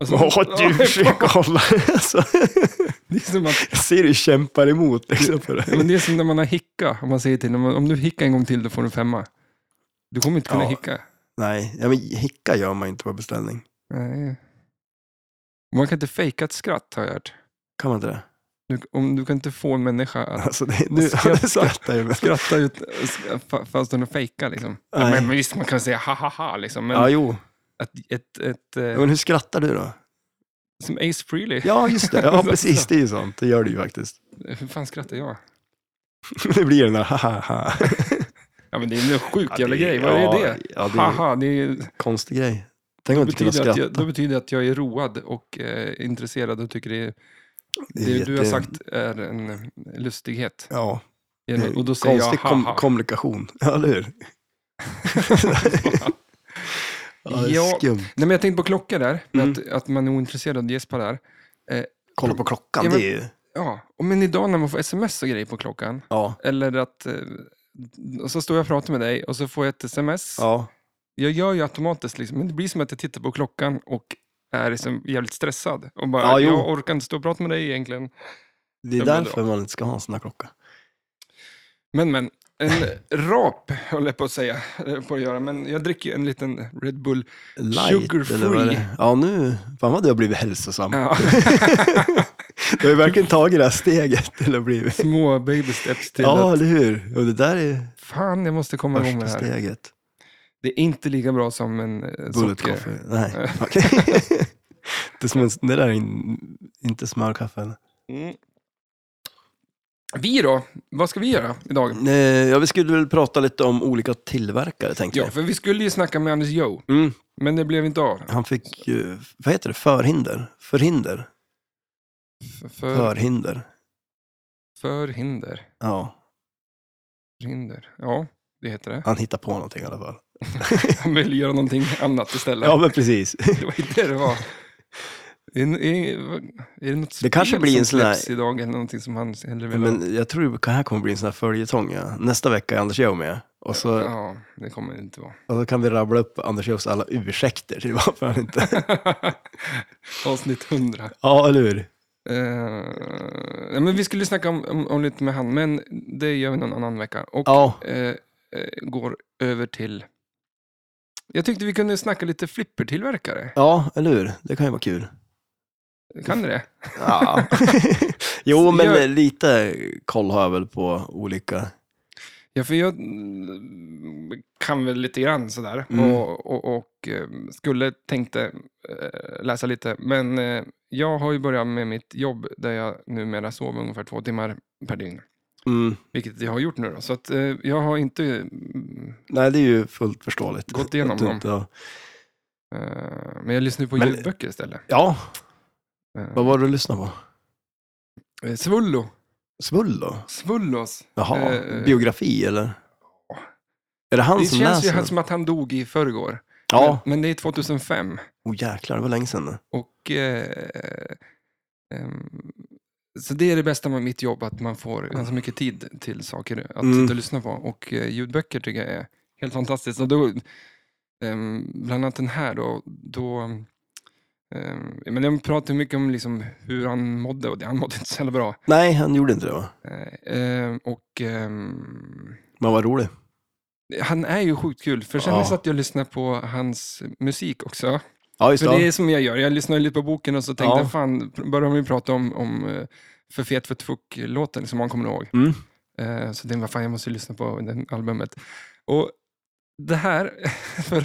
Speaker 1: Och så-
Speaker 2: Åh, du försöker hålla... Alltså,
Speaker 1: det, är som att,
Speaker 2: jag ser du kämpar emot liksom för
Speaker 1: ja, men
Speaker 2: det.
Speaker 1: det är som när man har hicka. Om man säger till om, om du hickar en gång till, då får du femma. Du kommer inte kunna
Speaker 2: Ja.
Speaker 1: hicka.
Speaker 2: Nej, ja, men hicka gör man inte på beställning.
Speaker 1: Nej. Man kan inte fejka ett skratt, har jag hört.
Speaker 2: Kan man inte det?
Speaker 1: Du, om, du kan inte få en människa att
Speaker 2: Alltså, det, nu
Speaker 1: Skratta.
Speaker 2: skrattar jag. men-
Speaker 1: skratta ut, fa- fast den fejkar. Liksom. Ja,
Speaker 2: Nej.
Speaker 1: men, men visst, man kan säga ha ha ha, liksom, men
Speaker 2: Ja, jo.
Speaker 1: att, ett, ett, eh,
Speaker 2: Ja, Men hur skrattar du då?
Speaker 1: Som Ace Frehley.
Speaker 2: Ja, just det. Ja, precis. Det är ju sånt. Det gör du ju faktiskt.
Speaker 1: Hur fan skrattar jag?
Speaker 2: det blir den där ha
Speaker 1: Ja, men det är en sjuk
Speaker 2: Ja,
Speaker 1: jävla
Speaker 2: det-
Speaker 1: grej. Vad
Speaker 2: ja,
Speaker 1: är det?
Speaker 2: ja, det är-
Speaker 1: Haha, det är,
Speaker 2: Konstig grej. Tänk om
Speaker 1: då,
Speaker 2: inte kunna
Speaker 1: betyder att
Speaker 2: skratta.
Speaker 1: jag, då betyder det att jag är road och eh, intresserad och tycker det, är,
Speaker 2: är
Speaker 1: det du har
Speaker 2: jätte-
Speaker 1: sagt är en lustighet.
Speaker 2: Ja,
Speaker 1: Och då säger
Speaker 2: konstig
Speaker 1: jag
Speaker 2: kom-
Speaker 1: haha.
Speaker 2: kommunikation. Ja, eller hur? ja, det är
Speaker 1: Ja.
Speaker 2: skumt.
Speaker 1: Nej, men jag tänkte på klocka där, med
Speaker 2: Mm.
Speaker 1: att, att man är ointresserad och gäspar där.
Speaker 2: Kolla på klockan,
Speaker 1: Ja, men-
Speaker 2: det är ju...
Speaker 1: Ja, och men idag när man får sms och grejer på klockan,
Speaker 2: Ja,
Speaker 1: eller att... eh, Och så står jag och pratar med dig och så får jag ett sms.
Speaker 2: ja.
Speaker 1: Jag gör ju automatiskt, liksom, men det blir som att jag tittar på klockan och är liksom jävligt stressad. Och bara,
Speaker 2: Ja, jo.
Speaker 1: jag orkar inte stå och prata med dig egentligen.
Speaker 2: Det
Speaker 1: Ja,
Speaker 2: är
Speaker 1: men
Speaker 2: därför man inte ska ha en sån här klocka.
Speaker 1: Men, men. En rap höll jag på att säga, eh, på att göra, men jag dricker ju en liten Red Bull. Sugar
Speaker 2: eller vad är det?
Speaker 1: free.
Speaker 2: Ja, nu... Fan vad du har blivit hälsosam.
Speaker 1: Ja,
Speaker 2: Du har ju verkligen tagit det här steget till att bli...
Speaker 1: små baby steps till
Speaker 2: Ja,
Speaker 1: att,
Speaker 2: eller hur? Och det där är
Speaker 1: fan jag måste komma igång med
Speaker 2: första
Speaker 1: det här.
Speaker 2: steget.
Speaker 1: Det är inte lika bra som en eh,
Speaker 2: Bullet
Speaker 1: socker.
Speaker 2: coffee. Nej, okej. det, är som en, det där är in, inte smörkaffe. eller?
Speaker 1: Mm. Vi då? Vad ska vi göra
Speaker 2: Mm,
Speaker 1: idag?
Speaker 2: Nej, Eh, Ja, vi skulle väl prata lite om olika tillverkare, tänkte
Speaker 1: Ja,
Speaker 2: jag.
Speaker 1: för vi skulle ju snacka med Anders Joe,
Speaker 2: Mm.
Speaker 1: men det blev inte av.
Speaker 2: Han fick ju, vad heter det, förhinder? Förhinder?
Speaker 1: För, för,
Speaker 2: Förhinder.
Speaker 1: för hinder.
Speaker 2: Ja,
Speaker 1: Rinder. Ja, det heter det.
Speaker 2: han hittar på någonting i alla fall.
Speaker 1: Han vill göra någonting annat istället.
Speaker 2: Ja, men precis.
Speaker 1: Det var inte det det var. Är, är, är det något
Speaker 2: Det kanske
Speaker 1: spel
Speaker 2: blir
Speaker 1: som
Speaker 2: en sån här-
Speaker 1: släpps idag eller någonting som han hellre vill ha?
Speaker 2: Men jag tror det här kommer bli en sån här följetong. Ja. Nästa vecka är Anders Joe med. Och så,
Speaker 1: Ja, det kommer det inte vara.
Speaker 2: och så kan vi rabbla upp Anders Joes alla ursäkter till varför han inte...
Speaker 1: Avsnitt 100.
Speaker 2: Ja, eller hur?
Speaker 1: Eh, ja, Eh, men vi skulle snacka om, om, om lite med han, men det gör vi någon annan vecka. Och
Speaker 2: Ja,
Speaker 1: eh, eh, går över till... Jag tyckte vi kunde snacka lite flippertillverkare.
Speaker 2: ja, eller hur? Det kan ju vara kul.
Speaker 1: Kan du det?
Speaker 2: Ja. jo, men
Speaker 1: Jag-
Speaker 2: eh, lite koll har jag väl på olika...
Speaker 1: Ja, för jag mm, kan väl lite grann sådär.
Speaker 2: Mm.
Speaker 1: Och, och, och eh, skulle tänkte eh, läsa lite. Men eh, jag har ju börjat med mitt jobb där jag numera sover ungefär två timmar per dygn.
Speaker 2: Mm.
Speaker 1: Vilket jag har gjort nu då. Så att, eh, jag har inte mm,
Speaker 2: Nej, det är ju fullt förståeligt.
Speaker 1: Gått igenom
Speaker 2: Att du
Speaker 1: dem.
Speaker 2: inte har-
Speaker 1: Eh, Men jag lyssnar ju på
Speaker 2: Men-
Speaker 1: ljudböcker istället.
Speaker 2: Ja,
Speaker 1: Eh,
Speaker 2: vad var det du lyssnade på?
Speaker 1: eh, Svullo.
Speaker 2: Svull då?
Speaker 1: Svullos.
Speaker 2: Jaha,
Speaker 1: Eh,
Speaker 2: biografi eller? Är det han
Speaker 1: Det
Speaker 2: som
Speaker 1: känns ju
Speaker 2: läser?
Speaker 1: här som att han dog i förrgår.
Speaker 2: Ja,
Speaker 1: Men, men det är 2005.
Speaker 2: oh, jäklar, det var länge sedan. nu.
Speaker 1: Och, eh, ehm, så det är det bästa med mitt jobb, att man får ganska mycket tid till saker att
Speaker 2: Mm.
Speaker 1: sitta och lyssna på. Och eh, ljudböcker tycker jag är helt fantastiskt. Och då, ehm, bland annat den här då, då ehm, men de pratar ju mycket om liksom hur han mådde och det, han mådde inte så jävla bra.
Speaker 2: Nej, han gjorde inte det va?
Speaker 1: Eh, ehm, och ehm,
Speaker 2: Men vad rolig.
Speaker 1: han är ju sjukt kul, för sen
Speaker 2: Ja.
Speaker 1: satt jag och lyssnade på hans musik också.
Speaker 2: Ja, just
Speaker 1: För det
Speaker 2: det.
Speaker 1: är som jag gör, jag lyssnar lite på boken och så tänkte
Speaker 2: Ja.
Speaker 1: jag, fan, pr- börjar vi prata om, om eh, För fet för ett fuck-låten som man kommer ihåg.
Speaker 2: Mm.
Speaker 1: Eh, Så tänkte jag, fan jag måste ju lyssna på det albumet. Och det här, för,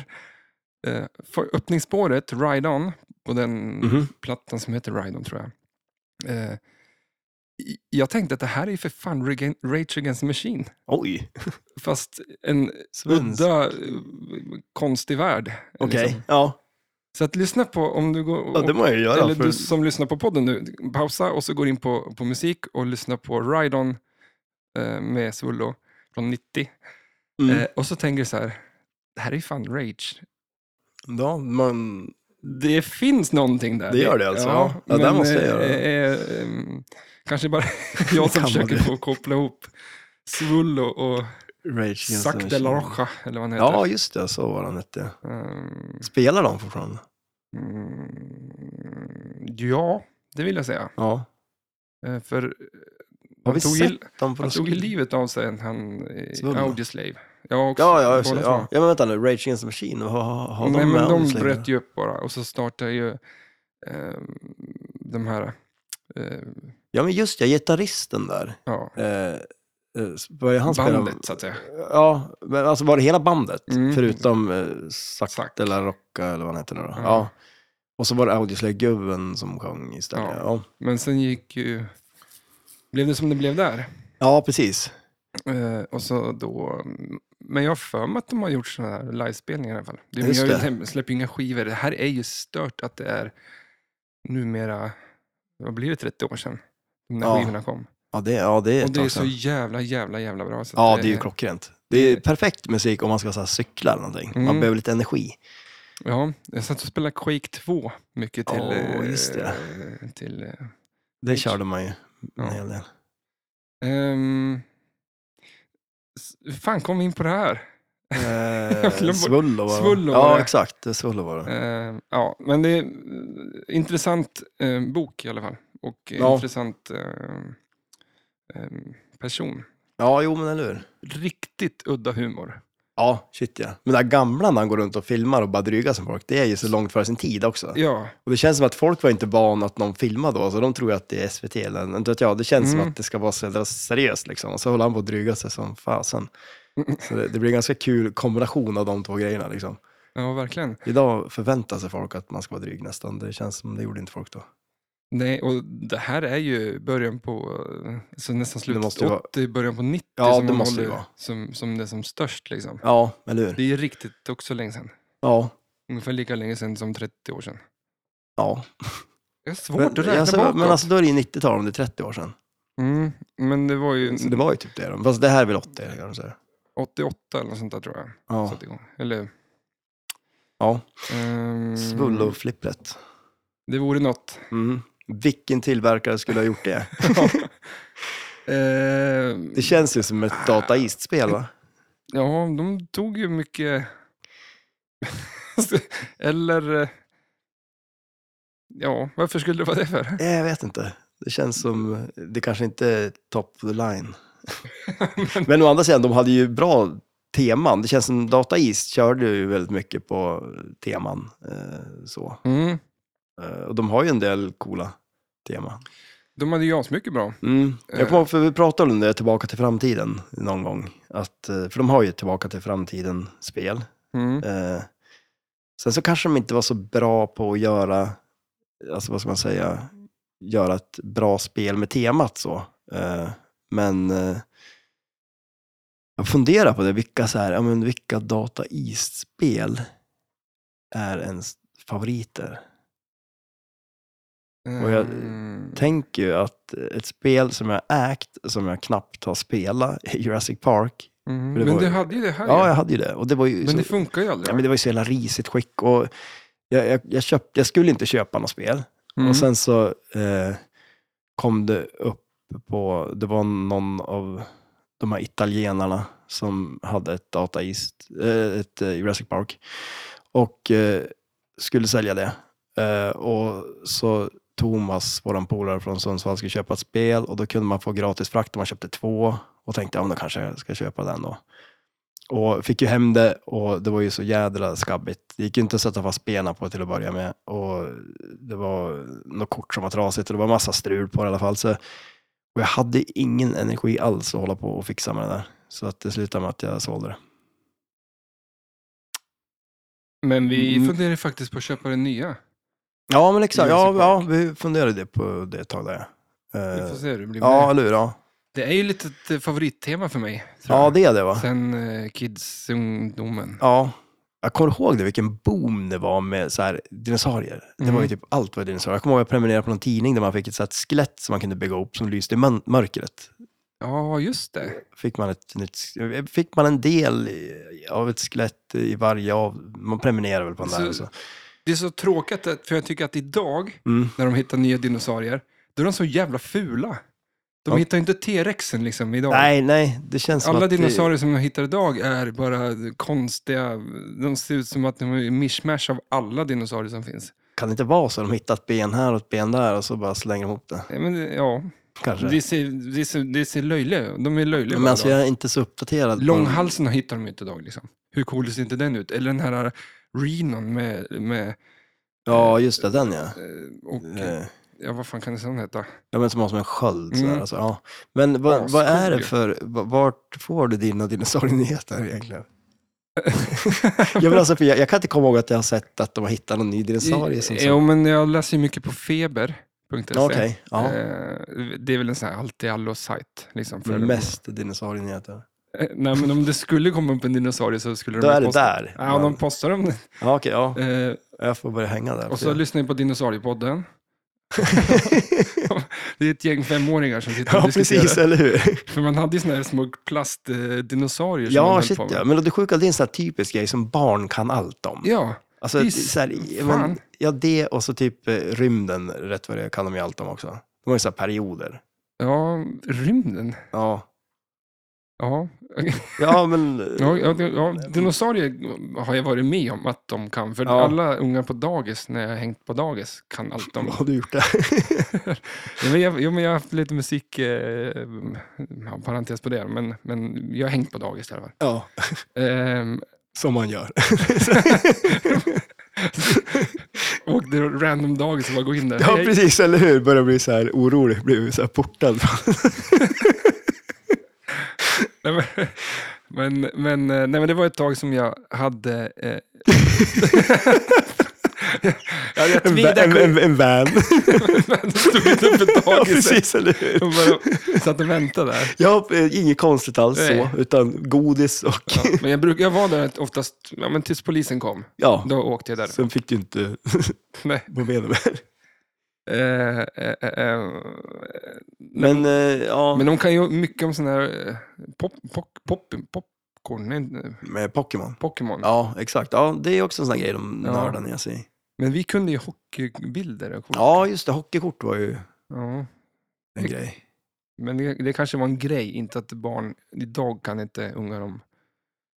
Speaker 1: eh, för öppningsspåret, Ride On, på den
Speaker 2: Mhm.
Speaker 1: plattan som heter Ride On tror jag. Eh, i- Jag tänkte att det här är ju för fan Rage Rage Against the Machine.
Speaker 2: Oj,
Speaker 1: Fast en
Speaker 2: Mm. svensk.
Speaker 1: udda, eh, konstig värld.
Speaker 2: Okej,
Speaker 1: liksom.
Speaker 2: ja.
Speaker 1: Så att lyssna på om du går...
Speaker 2: ja, det må jag ju göra.
Speaker 1: Eller
Speaker 2: för...
Speaker 1: du som lyssnar på podden nu, pausa och så går in på, på musik och lyssna på Ride On eh, med Svullo från 90.
Speaker 2: mm.
Speaker 1: Eh, och så tänker du så här, det här är ju fan Rage.
Speaker 2: ja, man...
Speaker 1: Det finns någonting där.
Speaker 2: Det gör det alltså, ja. Ja, det
Speaker 1: men,
Speaker 2: måste jag
Speaker 1: eh,
Speaker 2: göra.
Speaker 1: eh, eh, kanske bara jag som
Speaker 2: Kan man
Speaker 1: försöker
Speaker 2: det?
Speaker 1: få koppla ihop Svullo och
Speaker 2: Rage Against the
Speaker 1: Zac de la
Speaker 2: Machine.
Speaker 1: Rocha, eller vad han heter.
Speaker 2: Ja, just det, så var han hette.
Speaker 1: Ehm,
Speaker 2: Spelar de fortfarande?
Speaker 1: mm, ja, det vill jag säga.
Speaker 2: Ja.
Speaker 1: Eh, för
Speaker 2: Har
Speaker 1: han
Speaker 2: vi
Speaker 1: tog
Speaker 2: sett
Speaker 1: ill-
Speaker 2: dem? På
Speaker 1: Han tog ju livet av sig, när han
Speaker 2: Svullna.
Speaker 1: eh, Audioslave. Ja, också.
Speaker 2: Ja, ja, just det,
Speaker 1: båda
Speaker 2: ja.
Speaker 1: två.
Speaker 2: ja, men vänta nu. Rage Against the Machine, har, har, har
Speaker 1: Nej,
Speaker 2: de med
Speaker 1: men de
Speaker 2: Audioslave?
Speaker 1: bröt ju upp bara och så startade ju eh, de här, eh,
Speaker 2: Ja, men just ja, gitarristen där.
Speaker 1: ja,
Speaker 2: Eh, eh, började han spela?
Speaker 1: bandet så att säga.
Speaker 2: Ja, men alltså var det hela bandet?
Speaker 1: Mm.
Speaker 2: Förutom eh, Zac
Speaker 1: Zac.
Speaker 2: de la Rocca eller vad han heter nu då.
Speaker 1: Ja.
Speaker 2: Ja. Och så var det Audioslave-gubben som sjöng istället.
Speaker 1: Ja.
Speaker 2: Ja.
Speaker 1: Men sen gick ju blev det som det blev där.
Speaker 2: Ja, precis.
Speaker 1: Eh, och så då, men jag har för mig att de har gjort sådana här livespelningar i alla fall. Det,
Speaker 2: Just
Speaker 1: jag
Speaker 2: det.
Speaker 1: hem- släpper ju inga skivor. Det här är ju stört att det är numera, vad blir det, 30 år sedan? När
Speaker 2: Ja.
Speaker 1: skivorna kom.
Speaker 2: Ja, det, ja, det är
Speaker 1: Och
Speaker 2: ett
Speaker 1: det är
Speaker 2: tag
Speaker 1: så
Speaker 2: sedan.
Speaker 1: jävla, jävla, jävla bra. Så att
Speaker 2: Ja, det är ju klockrent. Det är perfekt musik om man ska så här, cykla eller någonting. Man
Speaker 1: Mm.
Speaker 2: behöver lite energi.
Speaker 1: Ja, jag satt och spelade Quake 2 mycket till...
Speaker 2: Åh,
Speaker 1: eh,
Speaker 2: just det.
Speaker 1: eh, till eh,
Speaker 2: Det körde man ju en
Speaker 1: ja.
Speaker 2: hel del.
Speaker 1: Ehm, s- hur fan kom vi in på det här?
Speaker 2: Eh,
Speaker 1: glömde bort-
Speaker 2: Svullo var det.
Speaker 1: Svullo var
Speaker 2: Ja,
Speaker 1: det.
Speaker 2: exakt. Det är Svullo var det.
Speaker 1: Ehm, ja, men det är eh, intressant eh, bok i alla fall. Och eh,
Speaker 2: Ja.
Speaker 1: intressant ehm, ehm, person.
Speaker 2: Ja, jo men eller hur.
Speaker 1: Riktigt udda humor.
Speaker 2: Ja, shit ja. Men det där gamla när han går runt och filmar och bara drygar som folk, det är ju så långt före sin tid också.
Speaker 1: Ja,
Speaker 2: Och det känns som att folk var inte vana att någon filmar då, så de tror ju att det är SVT eller inte vet jag. Det känns
Speaker 1: Mm.
Speaker 2: som att det ska vara så jävla seriöst liksom. Och så håller han på att dryga sig som fasen. Så det, det blir en ganska kul kombination av de två grejerna liksom.
Speaker 1: ja verkligen.
Speaker 2: Idag förväntar sig folk att man ska vara dryg nästan. Det känns som det gjorde inte folk då.
Speaker 1: Nej, och det här är ju början på, eh, så nästan slutet
Speaker 2: måste ju vara-
Speaker 1: 80, början på 90
Speaker 2: Ja,
Speaker 1: som
Speaker 2: det
Speaker 1: de
Speaker 2: måste det
Speaker 1: håller
Speaker 2: vara.
Speaker 1: som, som det är som störst. Liksom.
Speaker 2: Ja, eller hur?
Speaker 1: Det är ju riktigt också länge sedan.
Speaker 2: Ja.
Speaker 1: Ungefär lika länge sedan som 30 år sedan.
Speaker 2: Ja.
Speaker 1: Det är svårt att räkna
Speaker 2: alltså,
Speaker 1: bakåt.
Speaker 2: men alltså då är det ju 90-tal om det är 30 år sedan.
Speaker 1: mm, men det var ju
Speaker 2: Så det var ju typ det. då. Fast det här är väl 80 kan man säga.
Speaker 1: 88 eller något sånt där tror jag.
Speaker 2: Ja.
Speaker 1: Satt igång. Eller,
Speaker 2: ja.
Speaker 1: ehm,
Speaker 2: Svullo-flippret.
Speaker 1: Det vore något.
Speaker 2: Mm. Vilken tillverkare skulle ha gjort det?
Speaker 1: Ehm,
Speaker 2: Det känns ju som ett dataistspel va?
Speaker 1: ja, de tog ju mycket... eller... eh, Ja, varför skulle det vara det för?
Speaker 2: Eh, Jag vet inte. Det känns som, det kanske inte är top of the line. Men å andra sidan, de hade ju bra teman. Det känns som Data East körde ju väldigt mycket på teman. Eh, så.
Speaker 1: Mm.
Speaker 2: Eh, och de har ju en del coola teman.
Speaker 1: De hade ju asmycket bra.
Speaker 2: Mm.
Speaker 1: Eh.
Speaker 2: Jag kommer ihåg, för vi pratade om det, Tillbaka till framtiden, någon gång. Att, eh, för de har ju ett Tillbaka till framtiden-spel.
Speaker 1: Mm.
Speaker 2: Eh, sen så kanske de inte var så bra på att göra, alltså vad ska man säga, göra ett bra spel med temat så. Eh, men eh, jag funderar på det, vilka så här, ja men vilka Data East-spel är ens favoriter? och jag-
Speaker 1: Ehm,
Speaker 2: Tänk ju att ett spel som jag ägt, som jag knappt har spelat, Jurassic Park,
Speaker 1: mm.
Speaker 2: det
Speaker 1: Men
Speaker 2: var
Speaker 1: du
Speaker 2: ju-
Speaker 1: hade ju det här.
Speaker 2: ja
Speaker 1: ju.
Speaker 2: jag hade ju det. Och det var ju
Speaker 1: Men
Speaker 2: så
Speaker 1: det funkar ju aldrig.
Speaker 2: Ja, men det var ju så jävla risigt skick. Och jag, jag, jag, köpte, jag skulle inte köpa något spel.
Speaker 1: Mm.
Speaker 2: Och sen så eh, kom det upp på, det var någon av de här italienarna som hade ett Data East, eh, ett eh, Jurassic Park. Och eh, skulle sälja det. Eh, och så Thomas, våran polare från Sundsvall, skulle köpa ett spel och då kunde man få gratis frakt om man köpte två. Och tänkte, ja men då kanske jag ska köpa den då. Och fick ju hem det och det var ju så jädra skabbigt. Det gick ju inte att sätta fast benen på till att börja med. Och det var något kort som var trasigt och det var massa strul på det i alla fall. Så, och jag hade ingen energi alls att hålla på och fixa med det där. Så att det slutade med att jag sålde det.
Speaker 1: Men vi
Speaker 2: Mm.
Speaker 1: funderar ju faktiskt på att köpa den nya.
Speaker 2: Ja, men exakt. Ja,
Speaker 1: Jurassic
Speaker 2: ja,
Speaker 1: Park.
Speaker 2: vi funderade det på det ett tag där. ja. Eh,
Speaker 1: Vi får se hur det blir med
Speaker 2: ja,
Speaker 1: det.
Speaker 2: eller hur? Ja.
Speaker 1: Det är ju lite ett eh, favorittema för mig. tror
Speaker 2: ja,
Speaker 1: jag.
Speaker 2: det är det va?
Speaker 1: Sen eh, kids-ungdomen.
Speaker 2: Ja. Jag kommer ihåg det, vilken boom det var med så här, dinosaurier. Det var ju
Speaker 1: Mm.
Speaker 2: typ allt var dinosaurier. Jag kommer ihåg att jag prenumererade på någon tidning där man fick ett så här, skelett som man kunde bygga upp som lyste i mön- mörkret.
Speaker 1: Ja, just det.
Speaker 2: Fick man, ett, nytt, fick man en del i, av ett skelett i varje av... Man prenumererar väl på den där.
Speaker 1: Så-
Speaker 2: och Så.
Speaker 1: Det är så tråkigt, att, för jag tycker att idag,
Speaker 2: Mm.
Speaker 1: när de hittar nya dinosaurier, då är de så jävla fula. De
Speaker 2: Ja.
Speaker 1: hittar ju inte T-rexen liksom idag.
Speaker 2: Nej, nej, det känns som
Speaker 1: Alla
Speaker 2: att... det-
Speaker 1: dinosaurier som de hittar idag är bara konstiga. De ser ut som att de är en mishmash av alla dinosaurier som finns.
Speaker 2: Kan det inte vara så? De hittar ett ben här och ett ben där och så bara slänger de ihop det.
Speaker 1: Ja, Men, det- ja,
Speaker 2: Kanske.
Speaker 1: det ser, det ser, det ser löjliga ut. De är löjliga.
Speaker 2: Men
Speaker 1: bara
Speaker 2: alltså
Speaker 1: idag.
Speaker 2: jag är inte så uppdaterad. på-
Speaker 1: Långhalsen hittar de ju inte idag. Liksom. Hur cool ser inte den ut? Eller den här Renon med... med
Speaker 2: Ja, just det, den ja.
Speaker 1: eh, och,
Speaker 2: Eh,
Speaker 1: ja, vad fan kan det sån heta?
Speaker 2: Ja, men som har som en sköld.
Speaker 1: Mm.
Speaker 2: Sådär, alltså, ja. Men vad,
Speaker 1: Ascool
Speaker 2: vad är det
Speaker 1: ju.
Speaker 2: för, va- vart får du dina dinosaurienyheter egentligen? jag, vill alltså, för jag, jag kan inte komma ihåg att jag har sett att de har hittat någon ny dinosaurie som
Speaker 1: Jo,
Speaker 2: så.
Speaker 1: men jag läser ju mycket på Feber. E. .se.
Speaker 2: Okej, ja.
Speaker 1: Eh, Det är väl en sån här allt-i-allo-sajt. Liksom, för-
Speaker 2: Mm, Mest dinosaurienyheter.
Speaker 1: Eh, Nej, men om det skulle komma upp en dinosaurie så skulle
Speaker 2: Då
Speaker 1: de
Speaker 2: är det
Speaker 1: posta.
Speaker 2: där.
Speaker 1: Ja, de postar dem.
Speaker 2: ja, okej, ja.
Speaker 1: Eh,
Speaker 2: Jag får börja hänga där.
Speaker 1: Och så lyssnar ni på Dinosauriepodden. Det är ett gäng femåringar som sitter och
Speaker 2: ja,
Speaker 1: diskuterar.
Speaker 2: precis, eller hur?
Speaker 1: För man hade ju såna här små plastdinosaurier som man
Speaker 2: Ja,
Speaker 1: höll
Speaker 2: shit
Speaker 1: på med.
Speaker 2: ja. Men det sjuka, det är en sån här typisk grej som barn kan allt om.
Speaker 1: Ja,
Speaker 2: Alltså,
Speaker 1: Visst,
Speaker 2: så här,
Speaker 1: fan.
Speaker 2: men, ja, det och så typ eh, rymden, rätt vad det är, kan de ju allt om också. De har ju så här perioder.
Speaker 1: ja, rymden.
Speaker 2: Ja,
Speaker 1: Ja.
Speaker 2: ja men... eh,
Speaker 1: Ja, ja, det- ja, dinosaurier har jag varit med om att de kan. För
Speaker 2: Ja.
Speaker 1: alla ungar på dagis, när jag har hängt på dagis, kan allt om.
Speaker 2: Har du gjort det?
Speaker 1: Ja, men jag, jo, men jag har haft lite musik, eh, ja, parentes på det, men, men jag har hängt på dagis i alla fall.
Speaker 2: ja,
Speaker 1: Ehm,
Speaker 2: som man gör.
Speaker 1: åkte random dagis och bara gå in där.
Speaker 2: Ja,
Speaker 1: Hej.
Speaker 2: precis, eller hur? Börjar bli så här orolig, blir så här portad.
Speaker 1: Nej, men, men, men, eh, nej, men det var ett tag som jag hade... Eh, jag jag
Speaker 2: En, va- en,
Speaker 1: tweedade
Speaker 2: en, en van.
Speaker 1: stod utanför
Speaker 2: Ja,
Speaker 1: dagiset
Speaker 2: precis, eller hur?
Speaker 1: och bara satt och väntade där.
Speaker 2: Ja, eh, inget konstigt alls
Speaker 1: Nej.
Speaker 2: så, utan godis och...
Speaker 1: Ja, men jag, bruk, jag var där oftast ja, men tills polisen kom.
Speaker 2: Ja,
Speaker 1: Då åkte jag där.
Speaker 2: sen fick du inte
Speaker 1: Nej.
Speaker 2: vara med mer.
Speaker 1: Eh, eh, eh, eh,
Speaker 2: Men, eh, ja,
Speaker 1: men de kan ju mycket om sådana här eh, pop, pop, pop, popcorn, nej, eh,
Speaker 2: med Pokémon.
Speaker 1: Pokémon.
Speaker 2: Ja, exakt. Ja, det är också en sån här grej de
Speaker 1: Ja.
Speaker 2: nördar ner sig i.
Speaker 1: Men vi kunde ju hockeybilder. och-
Speaker 2: Ja, just det. Hockeykort var ju
Speaker 1: Ja.
Speaker 2: en grej.
Speaker 1: Men det, det kanske var en grej, inte att barn... Idag kan inte ungar om...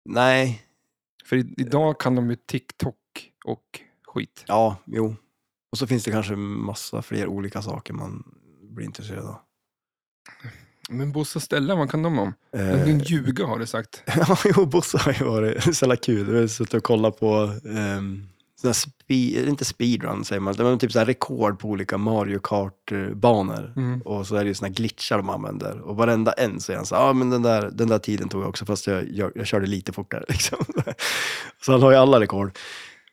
Speaker 2: Nej,
Speaker 1: För i, idag kan de ju TikTok och skit.
Speaker 2: ja, jo. Och så finns det kanske massa fler olika saker man blir intresserad av.
Speaker 1: Men Bosse och Stella, vad kan de om?
Speaker 2: Eh,
Speaker 1: En ljuga har du sagt.
Speaker 2: ja, jo, Bosse har ju varit så jävla kul. Vi har suttit och kollat på, ehm, sån här speed, inte speedrun säger man, men typ så här rekord på olika Mario eh, Kart-banor.
Speaker 1: Mm.
Speaker 2: Och så är det ju såna här glitchar de använder. Och varenda en säger han så ja ah, men den där, den där tiden tog jag också, fast jag, jag, jag körde lite fortare. Liksom. Så han har ju alla rekord.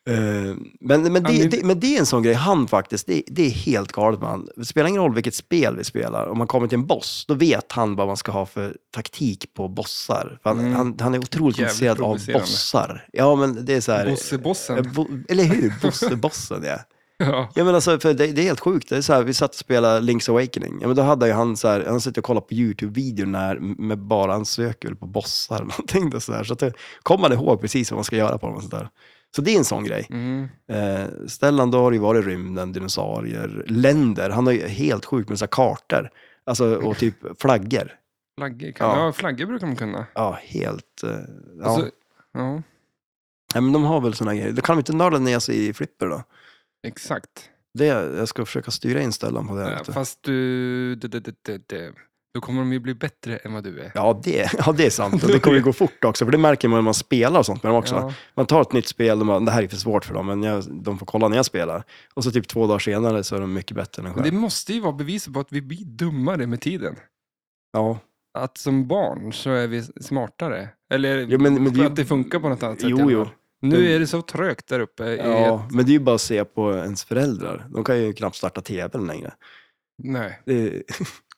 Speaker 2: Eh, men, men,
Speaker 1: Han
Speaker 2: det,
Speaker 1: är-
Speaker 2: det, men det är en sån grej, han faktiskt, det, det är helt galet med han. Det spelar ingen roll vilket spel vi spelar, om man kommer till en boss, då vet han vad man ska ha för taktik på bossar. För han,
Speaker 1: Mm.
Speaker 2: han, han är
Speaker 1: Jävligt
Speaker 2: otroligt intresserad av
Speaker 1: provocerande.
Speaker 2: bossar. Ja, men det är så här...
Speaker 1: Bosse-bossen.
Speaker 2: Eh, bo- eller hur? Bosse-bossen, ja.
Speaker 1: Ja.
Speaker 2: Ja, men alltså, för det, det är helt sjukt. Det är så här, vi satt och spelade Link's Awakening. Ja, men då hade ju han, så här, han satt och kollade på YouTube-videor när, med bara han söker väl på bossar eller någonting. Då, så där. så att det, kom man ihåg precis vad man ska göra på dem och så där. Så det är en sån grej.
Speaker 1: Mm.
Speaker 2: Eh, Stellan, då har det ju varit rymden, dinosaurier, länder. Han har ju helt sjukt med så här kartor. Alltså, och typ flaggor.
Speaker 1: Flaggor, kan,
Speaker 2: Ja.
Speaker 1: ja. flaggor brukar de kunna.
Speaker 2: Ja, helt... Eh, ja.
Speaker 1: Ja. Alltså, ja,
Speaker 2: Nej, men de har väl såna grejer. Då kan de inte nörda ner sig i flipper då.
Speaker 1: exakt.
Speaker 2: Det, jag ska försöka styra in Stellan på det.
Speaker 1: Ja,
Speaker 2: lite.
Speaker 1: fast du... Det, det, det, det, det. Då kommer de ju bli bättre än vad du är.
Speaker 2: Ja det, ja, det är sant. Och det kommer ju gå fort också, för det märker man när man spelar och sånt med dem också.
Speaker 1: Ja.
Speaker 2: Man tar ett nytt spel och man, det här är för svårt för dem, men jag, de får kolla när jag spelar. Och så typ två dagar senare så är de mycket bättre än en
Speaker 1: Men det
Speaker 2: själv.
Speaker 1: måste ju vara beviset på att vi blir dummare med tiden.
Speaker 2: Ja.
Speaker 1: Att som barn så är vi smartare. Eller
Speaker 2: Jo, men, men det,
Speaker 1: för
Speaker 2: är
Speaker 1: att det funkar på något annat sätt.
Speaker 2: ju-
Speaker 1: i alla
Speaker 2: jo, jo.
Speaker 1: fall. Nu är det så trögt där uppe. i-
Speaker 2: Ja, men det är ju bara att se på ens föräldrar. De kan ju knappt starta tvn längre.
Speaker 1: Nej,
Speaker 2: Det,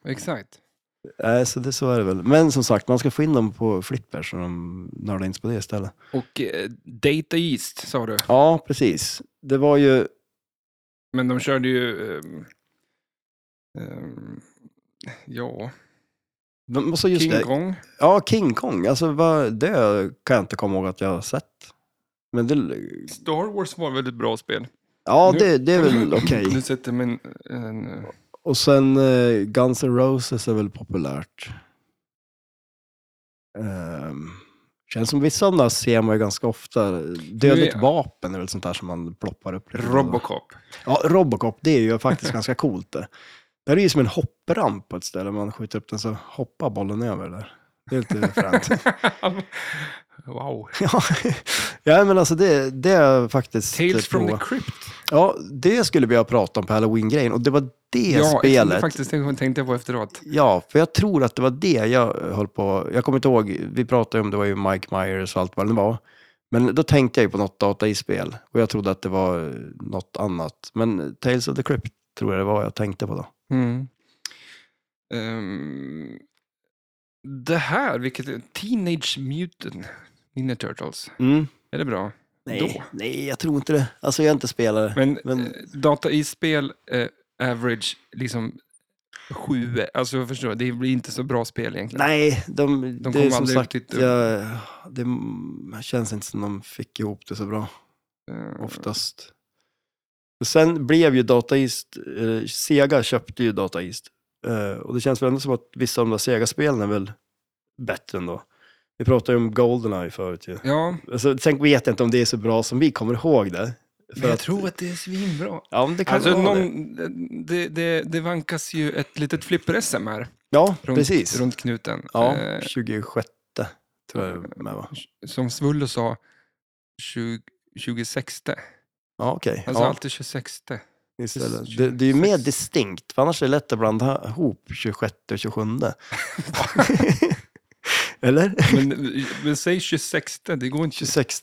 Speaker 1: exakt.
Speaker 2: nej, så det så är det väl. Men som sagt, man ska få in dem på flipper så de nördar in sig på det istället.
Speaker 1: Och eh, Data East sa du.
Speaker 2: Ja, precis. Det var ju...
Speaker 1: Men de körde ju... ehm, ehm, ja,
Speaker 2: de- och så just
Speaker 1: King
Speaker 2: det.
Speaker 1: Kong.
Speaker 2: Ja, King Kong. Alltså, vad, det kan jag inte komma ihåg att jag har sett. Men det,
Speaker 1: Star Wars var väl ett bra spel.
Speaker 2: ja,
Speaker 1: Nu-
Speaker 2: det, det är väl Mm, okej.
Speaker 1: Nu sätter man en... eh,
Speaker 2: Och sen eh, Guns N' Roses är väl populärt. Ehm, känns som vissa av de där ser man ju ganska ofta. Dödligt
Speaker 1: Nu är-
Speaker 2: vapen är väl sånt där som man ploppar upp. lite då och då.
Speaker 1: Robocop.
Speaker 2: Ja, Robocop, det är ju faktiskt ganska coolt det. Det här är ju som en hoppramp på ett ställe. Man skjuter upp den så hoppar bollen över där. Det är lite fränt.
Speaker 1: wow.
Speaker 2: Ja, ja men alltså det, det är faktiskt...
Speaker 1: Tales from
Speaker 2: prova.
Speaker 1: the Crypt.
Speaker 2: Ja, det skulle vi ha pratat om på halloween-grejen och det var det
Speaker 1: Ja, det
Speaker 2: spelet.
Speaker 1: är faktiskt det jag tänkte på efteråt.
Speaker 2: Ja, för jag tror att det var det jag höll på... Jag kommer inte ihåg, vi pratade ju om det var ju Mike Myers och allt vad det var. Men då tänkte jag ju på något data i spel och jag trodde att det var eh, något annat. Men Tales of the Crypt tror jag det var jag tänkte på då.
Speaker 1: Mm. Ehm, det här, vilket är Teenage Mutant Ninja Turtles,
Speaker 2: Mm.
Speaker 1: är det bra?
Speaker 2: Nej,
Speaker 1: Då?
Speaker 2: nej, jag tror inte det. Alltså jag är inte spelare.
Speaker 1: Men,
Speaker 2: Men-
Speaker 1: eh, data i spel, eh, average, liksom sju, alltså jag förstår, det blir inte så bra spel egentligen.
Speaker 2: Nej, de,
Speaker 1: De
Speaker 2: det är
Speaker 1: kommer
Speaker 2: som
Speaker 1: aldrig
Speaker 2: sagt,
Speaker 1: riktigt upp.
Speaker 2: jag, det m- känns inte som de fick ihop det så bra
Speaker 1: Eh,
Speaker 2: oftast. Och Sen blev ju Data East, eh, Sega köpte ju Data East. Eh, och det känns väl ändå som att vissa av de där Sega-spelen är väl bättre ändå. Vi pratade ju om Goldeneye förut ju.
Speaker 1: Ja,
Speaker 2: Alltså, sen vet jag inte om det är så bra som vi kommer ihåg det. För
Speaker 1: men jag
Speaker 2: att-
Speaker 1: tror att det är svinbra.
Speaker 2: Ja, men det kan
Speaker 1: Alltså,
Speaker 2: vara det.
Speaker 1: någon, det, det, det vankas ju ett litet flipper-SM här
Speaker 2: Ja,
Speaker 1: runt,
Speaker 2: precis.
Speaker 1: runt knuten.
Speaker 2: Ja,
Speaker 1: Eh,
Speaker 2: 26 tror jag det är med va?
Speaker 1: som Svullo sa, 20, 26.
Speaker 2: Ja, okej.
Speaker 1: Alltså
Speaker 2: ja.
Speaker 1: alltid 26.
Speaker 2: Istället. Det, det är ju mer distinkt, för annars är det lätt att blanda ihop 26 och 27. Eller?
Speaker 1: Men, men säg 26, det går inte.
Speaker 2: 26.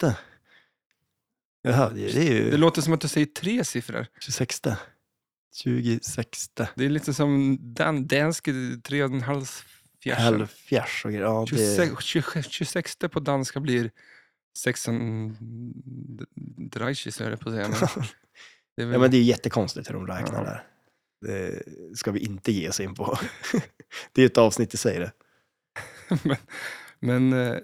Speaker 2: Jaha, det det är
Speaker 1: Det
Speaker 2: ju
Speaker 1: låter som att du säger tre siffror.
Speaker 2: 26. 26.
Speaker 1: Det är lite som Dan dansk, tre och en halv fjärsen.
Speaker 2: Halvfjärs och grejer. Ja, det,
Speaker 1: 26, 26, 26 på danska blir sexen... Dreishis, höll jag på att säga. men Det är väl,
Speaker 2: ja, men det är ju jättekonstigt hur de räknar
Speaker 1: Ja.
Speaker 2: där. Det ska vi inte ge oss in på. det är ett avsnitt i sig det.
Speaker 1: men eh,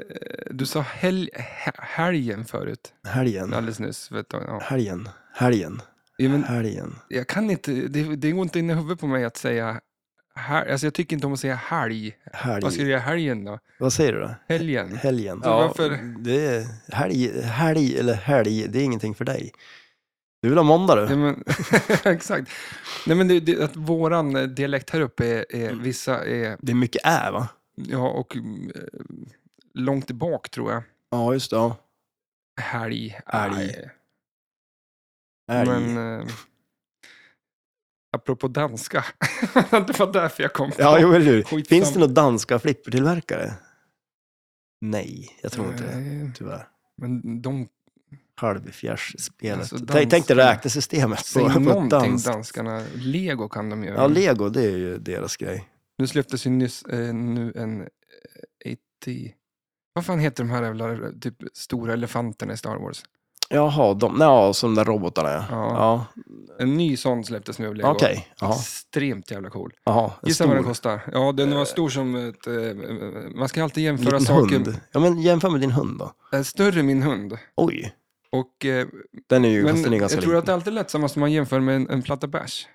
Speaker 1: du sa hel, he- helgen förut,
Speaker 2: Helgen.
Speaker 1: alldeles nyss. Vet du, ja.
Speaker 2: Helgen. Helgen.
Speaker 1: Ja, men
Speaker 2: Helgen.
Speaker 1: jag kan inte, det, det går inte in i huvudet på mig att säga här, alltså jag tycker inte om att säga helg. Vad ska
Speaker 2: Helg.
Speaker 1: du göra helgen då?
Speaker 2: Vad säger du då?
Speaker 1: Helgen?
Speaker 2: Helgen.
Speaker 1: Så varför-
Speaker 2: Det är helg, helg eller helg, det är ingenting för dig. Du vill ha måndag du?
Speaker 1: Ja, men, exakt. Nej, men det, det, att våran eh, dialekt här uppe är, är
Speaker 2: Mm.
Speaker 1: vissa är,
Speaker 2: Det är mycket ä va?
Speaker 1: ja och mm, eh, långt bak tror jag.
Speaker 2: Ja, just det. Ja.
Speaker 1: Helg.
Speaker 2: Älg.
Speaker 1: aj.
Speaker 2: Älg.
Speaker 1: Men eh, apropå danska, det var därför jag kom på.
Speaker 2: ja, jo, eller hur.
Speaker 1: skitsam-
Speaker 2: Finns det några danska flippertillverkare? Nej, jag tror inte det.
Speaker 1: Eh,
Speaker 2: Tyvärr.
Speaker 1: Men de
Speaker 2: Halvfjärsspelet.
Speaker 1: Alltså,
Speaker 2: tänk, tänk dig
Speaker 1: danskarna-
Speaker 2: räknesystemet
Speaker 1: säger
Speaker 2: på, på
Speaker 1: någonting,
Speaker 2: ett dans.
Speaker 1: danskarna. Lego kan de göra.
Speaker 2: Ja, lego, det är ju deras grej.
Speaker 1: Nu släpptes ju nyss eh, nu en eh, 80... Vad fan heter de här jävla eh, typ, stora elefanterna i Star Wars?
Speaker 2: Jaha, de, ja, som de där robotarna ja.
Speaker 1: Ja.
Speaker 2: ja.
Speaker 1: En ny sån släpptes nu av Lego.
Speaker 2: Okej, jaha.
Speaker 1: Extremt jävla cool.
Speaker 2: jaha. En
Speaker 1: Gissa vad den
Speaker 2: stor,
Speaker 1: kostar. Ja, den var stor som ett... Eh, man ska alltid jämföra
Speaker 2: liten
Speaker 1: saker.
Speaker 2: hund. Ja, men jämför med din hund då.
Speaker 1: Eh, större än min hund.
Speaker 2: Oj,
Speaker 1: Och, eh,
Speaker 2: den är ju,
Speaker 1: men
Speaker 2: fast den är
Speaker 1: jag
Speaker 2: ganska
Speaker 1: tror att det alltid är lätt som man jämför med en, en platta bärs.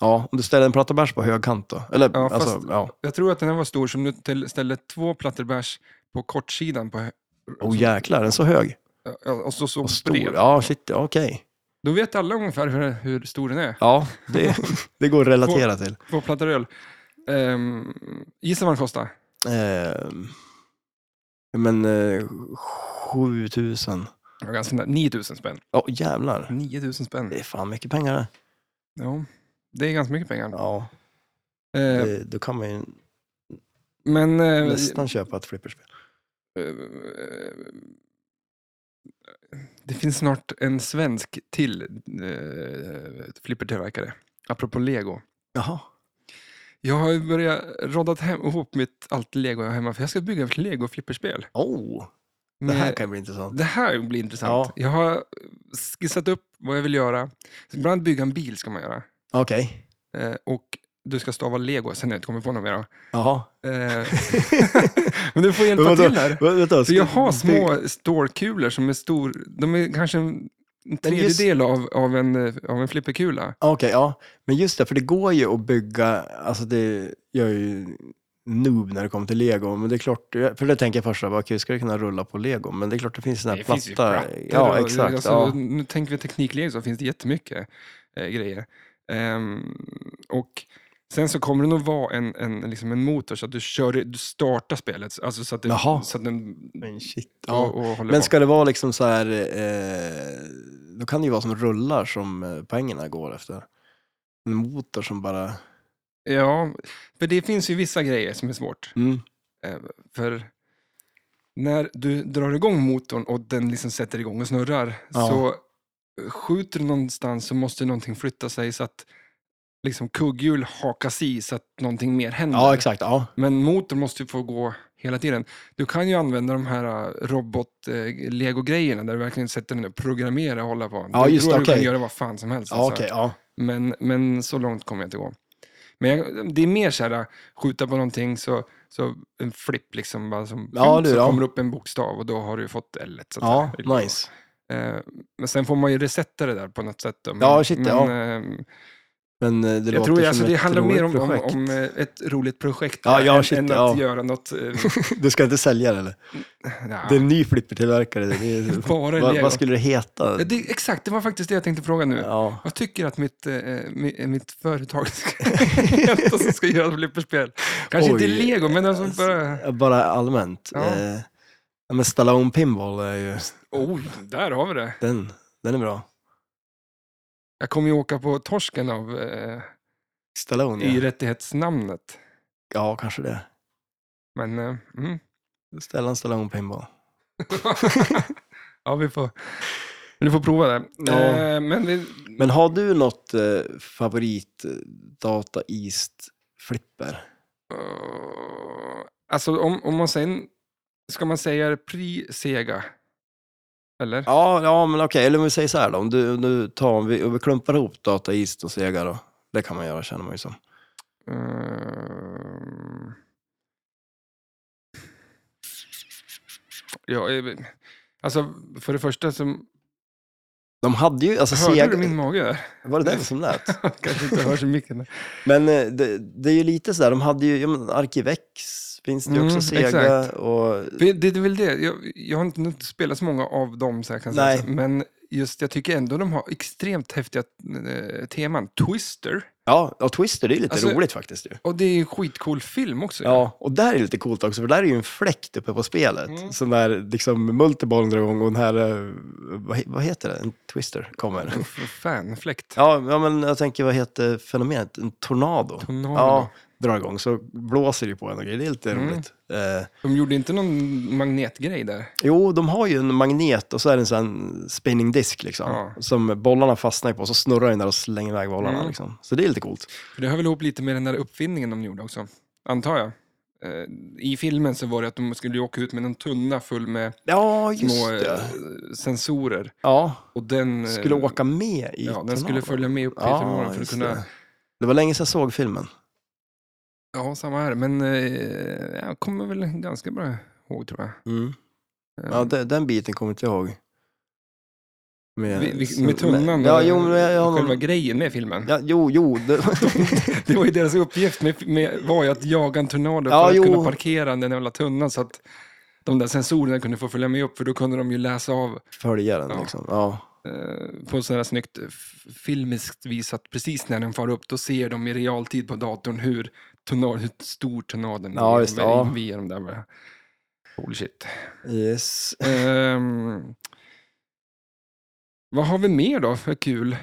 Speaker 2: Ja, om du ställer en plattabärs på hög kant då. Eller,
Speaker 1: Ja,
Speaker 2: alltså,
Speaker 1: fast-
Speaker 2: ja.
Speaker 1: Jag tror att den här var stor som du till- ställde två plattor bärs på kortsidan. På, hö-
Speaker 2: Oh jäklar, den är så hög.
Speaker 1: ja, och så, så
Speaker 2: Och stor.
Speaker 1: bred.
Speaker 2: Ja, shit, ja, okej.
Speaker 1: Då vet alla ungefär hur, hur stor den är.
Speaker 2: Ja, det, det går att relatera till.
Speaker 1: Två plattor öl. Ehm, gissa vad den kostar?
Speaker 2: Ehm, men eh, 7000.
Speaker 1: Det var ganska nära. 9000 spänn.
Speaker 2: Ja, jävlar.
Speaker 1: 9000 spänn.
Speaker 2: Det är fan mycket pengar det.
Speaker 1: Ja, det är ganska mycket pengar.
Speaker 2: Ja,
Speaker 1: Eh,
Speaker 2: det, då kan man ju
Speaker 1: men... eh,
Speaker 2: nästan köpa ett flipperspel.
Speaker 1: eh, det finns snart en svensk till eh, flippertillverkare. Apropå lego.
Speaker 2: Jaha.
Speaker 1: Jag har ju börjat roddat hem, ihop mitt allt lego jag har hemma. För jag ska bygga ett lego-flipperspel.
Speaker 2: Oh, det här kan ju bli intressant.
Speaker 1: Det här blir intressant. Jag har skissat upp vad jag vill göra. Bland annat bygga en bil ska man göra.
Speaker 2: Okej.
Speaker 1: Eh, och du ska stava lego, sen har jag inte kommit på något mer. då.
Speaker 2: Jaha.
Speaker 1: Eh, men du får hjälpa
Speaker 2: Vadå?
Speaker 1: till här.
Speaker 2: Va- Vänta,
Speaker 1: För
Speaker 2: ska-
Speaker 1: jag har små stålkulor som är stor, de är kanske en, en
Speaker 2: Men just-
Speaker 1: tredjedel av, av en, eh, av en flipperkula.
Speaker 2: Ja, Okej, ja. Men just det, för det går ju att bygga, alltså det, jag är ju noob när det kommer till lego, men det är klart, för det tänker jag först, så här, bara, okej, ska det kunna rulla på lego? Men det är klart det finns sådana här platta. ja,
Speaker 1: och-
Speaker 2: exakt.
Speaker 1: alltså,
Speaker 2: ja.
Speaker 1: Nu tänker vi tekniklego så finns det jättemycket eh, grejer. Ehm, och sen så kommer det nog vara en, en, liksom en motor så att du, kör, du startar spelet. Alltså så att, det,
Speaker 2: Jaha.
Speaker 1: så att den...
Speaker 2: Men shit.
Speaker 1: Och,
Speaker 2: Ja.
Speaker 1: och håller på.
Speaker 2: Men ska det vara liksom så här, eh, då kan det ju vara som rullar som eh, poängerna går efter. En motor som bara,
Speaker 1: Ja, för det finns ju vissa grejer som är svårt.
Speaker 2: mm,
Speaker 1: Eh, För när du drar igång motorn och den liksom sätter igång och snurrar eh,
Speaker 2: Ja.
Speaker 1: så skjuter du någonstans så måste någonting flytta sig så att liksom kugghjul hakas i så att någonting mer händer.
Speaker 2: Ja, exakt. Ja.
Speaker 1: Men motorn måste ju få gå hela tiden. Du kan ju använda de här eh, robot-lego-grejerna där du verkligen sätter den och programmerar och hålla på.
Speaker 2: Ja,
Speaker 1: Jag
Speaker 2: just
Speaker 1: tror
Speaker 2: det,
Speaker 1: att Du kan
Speaker 2: okej.
Speaker 1: göra vad fan som helst.
Speaker 2: Ja,
Speaker 1: alltså.
Speaker 2: okej. Ja.
Speaker 1: men, men så långt kommer jag inte gå. Men jag, det är mer så här, äh, skjuta på någonting så, så en flipp liksom, bara som,
Speaker 2: Ja, du,
Speaker 1: så
Speaker 2: ja.
Speaker 1: kommer det upp en bokstav och då har du fått L. Så att
Speaker 2: ja,
Speaker 1: säga.
Speaker 2: nice.
Speaker 1: Eh, Men sen får man ju resetta det där på något sätt. då. Men,
Speaker 2: Ja, shit, ja.
Speaker 1: ehm,
Speaker 2: Men eh, det
Speaker 1: jag
Speaker 2: låter
Speaker 1: tror
Speaker 2: som
Speaker 1: alltså, det
Speaker 2: ett
Speaker 1: handlar mer
Speaker 2: roligt
Speaker 1: om, om,
Speaker 2: projekt.
Speaker 1: om eh, ett roligt projekt
Speaker 2: Ja, ja,
Speaker 1: än,
Speaker 2: shit,
Speaker 1: än
Speaker 2: ja.
Speaker 1: att göra något... eh,
Speaker 2: Du ska inte sälja det eller?
Speaker 1: nja,
Speaker 2: Det är en ny flippertillverkare. Det är,
Speaker 1: bara
Speaker 2: vad,
Speaker 1: lego.
Speaker 2: vad skulle det heta?
Speaker 1: Ja, det, exakt, det var faktiskt det jag tänkte fråga nu.
Speaker 2: Ja.
Speaker 1: Jag tycker att mitt, eh, mi- mitt företag ska, hjälpa som ska göra ett flipperspel. Kanske inte
Speaker 2: Oj.
Speaker 1: lego, men alltså bara...
Speaker 2: Bara allmänt.
Speaker 1: Ja.
Speaker 2: Eh, ja, men Stallone Pinball är ju...
Speaker 1: Oh, där har vi det.
Speaker 2: Den, den är bra.
Speaker 1: Jag kommer ju åka på torsken av eh,
Speaker 2: Stallone,
Speaker 1: i
Speaker 2: ja.
Speaker 1: rättighetsnamnet.
Speaker 2: Ja, kanske det.
Speaker 1: Men, eh, mm.
Speaker 2: Stellan Stallone Pinball.
Speaker 1: ja, vi får, vi får prova det.
Speaker 2: Ja.
Speaker 1: Eh, men vi,
Speaker 2: Men har du något eh, favorit eh, Data East flipper?
Speaker 1: Eh, alltså om, om man sen, ska man säga pre-Sega? Eller?
Speaker 2: Ja, ja men okej, eller om vi säger så här då. Om du, om du tar, om vi, om vi klumpar ihop Data East och Sega då. Det kan man göra känner man ju som.
Speaker 1: Ehm. Ja, eh, alltså för det första så
Speaker 2: De hade ju, alltså
Speaker 1: hörde
Speaker 2: Sega,
Speaker 1: du min mage där?
Speaker 2: var det den som lät?
Speaker 1: Kanske inte hörs i micken.
Speaker 2: Men eh, det, det är ju lite så där, de hade ju, ja, men Arkivex finns det ju också,
Speaker 1: Mm,
Speaker 2: Sega
Speaker 1: exakt.
Speaker 2: och...
Speaker 1: Det, det är väl det, jag, jag har inte inte spelat så många av dem så jag kan säga
Speaker 2: Nej.
Speaker 1: så. Men just jag tycker ändå de har extremt häftiga eh, teman. Twister,
Speaker 2: Ja, och Twister, det är lite
Speaker 1: Alltså-
Speaker 2: roligt faktiskt ju.
Speaker 1: och det är en skitcool film också.
Speaker 2: Ja, och där är det lite coolt också, för där är ju en fläkt uppe på spelet.
Speaker 1: Mm.
Speaker 2: Som där liksom multibollen drar igång och den här, eh, vad, he- vad heter det, en twister kommer.
Speaker 1: En f- Fanfläkt.
Speaker 2: Ja, ja, men jag tänker, vad heter fenomenet? En tornado.
Speaker 1: Tornado.
Speaker 2: Ja, drar igång, så blåser det ju på en och grejer. Det är lite
Speaker 1: Mm.
Speaker 2: roligt. Eh,
Speaker 1: De gjorde inte någon magnetgrej där.
Speaker 2: jo, de har ju en magnet och så är det en sån spinning disk liksom.
Speaker 1: Ja.
Speaker 2: Som bollarna fastnar på, så snurrar den där och slänger iväg bollarna.
Speaker 1: Mm.
Speaker 2: Liksom. Så det är lite coolt.
Speaker 1: För det hör väl ihop lite med den där uppfinningen de gjorde också, antar jag. Eh, I filmen så var det att de skulle åka ut med en tunna full med
Speaker 2: Ja, just
Speaker 1: små eh,
Speaker 2: det.
Speaker 1: sensorer.
Speaker 2: Ja,
Speaker 1: Och den, eh,
Speaker 2: skulle åka med i
Speaker 1: ja, den skulle
Speaker 2: tornadon.
Speaker 1: följa med upp i förmånen för att
Speaker 2: just
Speaker 1: kunna...
Speaker 2: det. det var länge sedan jag såg filmen.
Speaker 1: Ja, samma här. Men eh, jag kommer väl ganska bra ihåg, tror jag. Eh,
Speaker 2: Ja, den, den biten kommer inte jag ihåg. Med,
Speaker 1: vi- vi-
Speaker 2: så-
Speaker 1: med tunnan
Speaker 2: ja,
Speaker 1: och
Speaker 2: jo, men jag, jag, har
Speaker 1: själva
Speaker 2: någon-
Speaker 1: grejen med filmen.
Speaker 2: ja, jo, jo. Det,
Speaker 1: Det var ju deras uppgift med, med, var ju att jaga en tornado
Speaker 2: Ja,
Speaker 1: för att
Speaker 2: jo.
Speaker 1: kunna parkera den där jävla tunnan så att de där sensorerna kunde få följa med upp för då kunde de ju läsa av
Speaker 2: följa den
Speaker 1: Ja.
Speaker 2: liksom. Ja.
Speaker 1: eh, på sådär snyggt f- filmiskt vis att precis när den far upp då ser de i realtid på datorn hur, tornad, hur stor tornaden
Speaker 2: Ja,
Speaker 1: är
Speaker 2: just det,
Speaker 1: med-
Speaker 2: ja.
Speaker 1: via de där. bara- Holy shit.
Speaker 2: Yes.
Speaker 1: Ehm, vad har vi mer då för kul?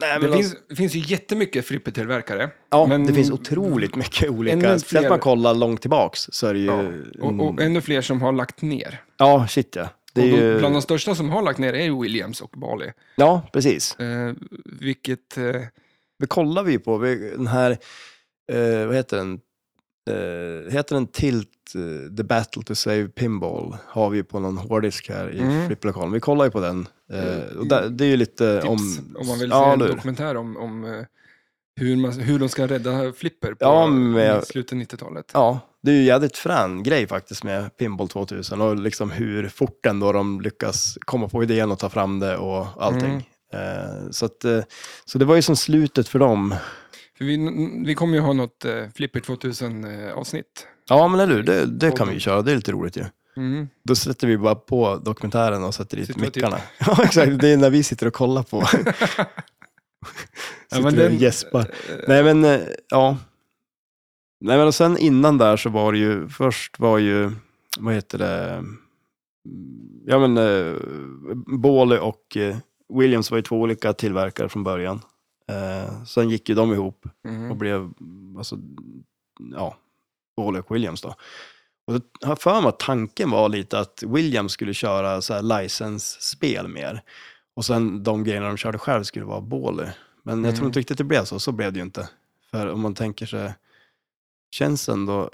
Speaker 2: Nej, men
Speaker 1: Det finns, finns ju jättemycket flippertillverkare.
Speaker 2: ja,
Speaker 1: men-
Speaker 2: det finns otroligt mycket olika.
Speaker 1: Ännu
Speaker 2: Speciellt om
Speaker 1: fler-
Speaker 2: man kollar långt tillbaks så är det ju...
Speaker 1: Ja, och, och
Speaker 2: mm,
Speaker 1: ännu fler som har lagt ner.
Speaker 2: ja shit ja. Det är
Speaker 1: och de,
Speaker 2: ju,
Speaker 1: Bland de största som har lagt ner är ju Williams och Bali.
Speaker 2: Ja, precis.
Speaker 1: Eh, vilket... Eh,
Speaker 2: Det kollar vi ju på. Vi, den här, eh, vad heter den? Eh, heter den Tilt, eh, The Battle to Save Pinball, har vi ju på någon hårddisk här i
Speaker 1: Mm.
Speaker 2: flipplokalen. Vi kollar ju på den. Eh,
Speaker 1: Mm.
Speaker 2: och där, det är ju lite
Speaker 1: tips om,
Speaker 2: om...
Speaker 1: man vill
Speaker 2: ja,
Speaker 1: se en
Speaker 2: eller hur?
Speaker 1: dokumentär om, om eh, hur, man, hur de ska rädda Flipper på
Speaker 2: Ja, men-
Speaker 1: slutet av 90-talet.
Speaker 2: Ja, det är ju jävligt frän grej faktiskt med Pinball 2000 och liksom hur fort ändå de lyckas komma på idén och ta fram det och allting. Eh, så, att, eh, så det var ju som slutet för dem.
Speaker 1: För vi, vi kommer ju ha något eh, Flipper eh, 2000-avsnitt.
Speaker 2: Ja, men eller hur? Det, det kan vi ju köra. Det är lite roligt ju.
Speaker 1: Mm.
Speaker 2: Då sätter vi bara på dokumentären och sätter dit
Speaker 1: Sitter och
Speaker 2: mickarna. Ja, exakt. Det är när vi sitter och kollar på. sitter
Speaker 1: Ja, men
Speaker 2: vi och
Speaker 1: den-
Speaker 2: gäspar.
Speaker 1: Eh,
Speaker 2: Nej, men eh, ja. Nej, men och sen innan där så var det ju, först var ju, vad heter det, ja men eh, Båle och eh, Williams var ju två olika tillverkare från början. Eh, sen gick ju de ihop och
Speaker 1: mm.
Speaker 2: blev, alltså, ja, Båle och Williams då. Och då har jag för mig att tanken var lite att Williams skulle köra så här license-spel mer. Och sen de grejerna de körde själv skulle vara Båle. Men jag
Speaker 1: Mm.
Speaker 2: tror inte riktigt det blev så. Så blev det ju inte. För om man tänker sig, tjänsten då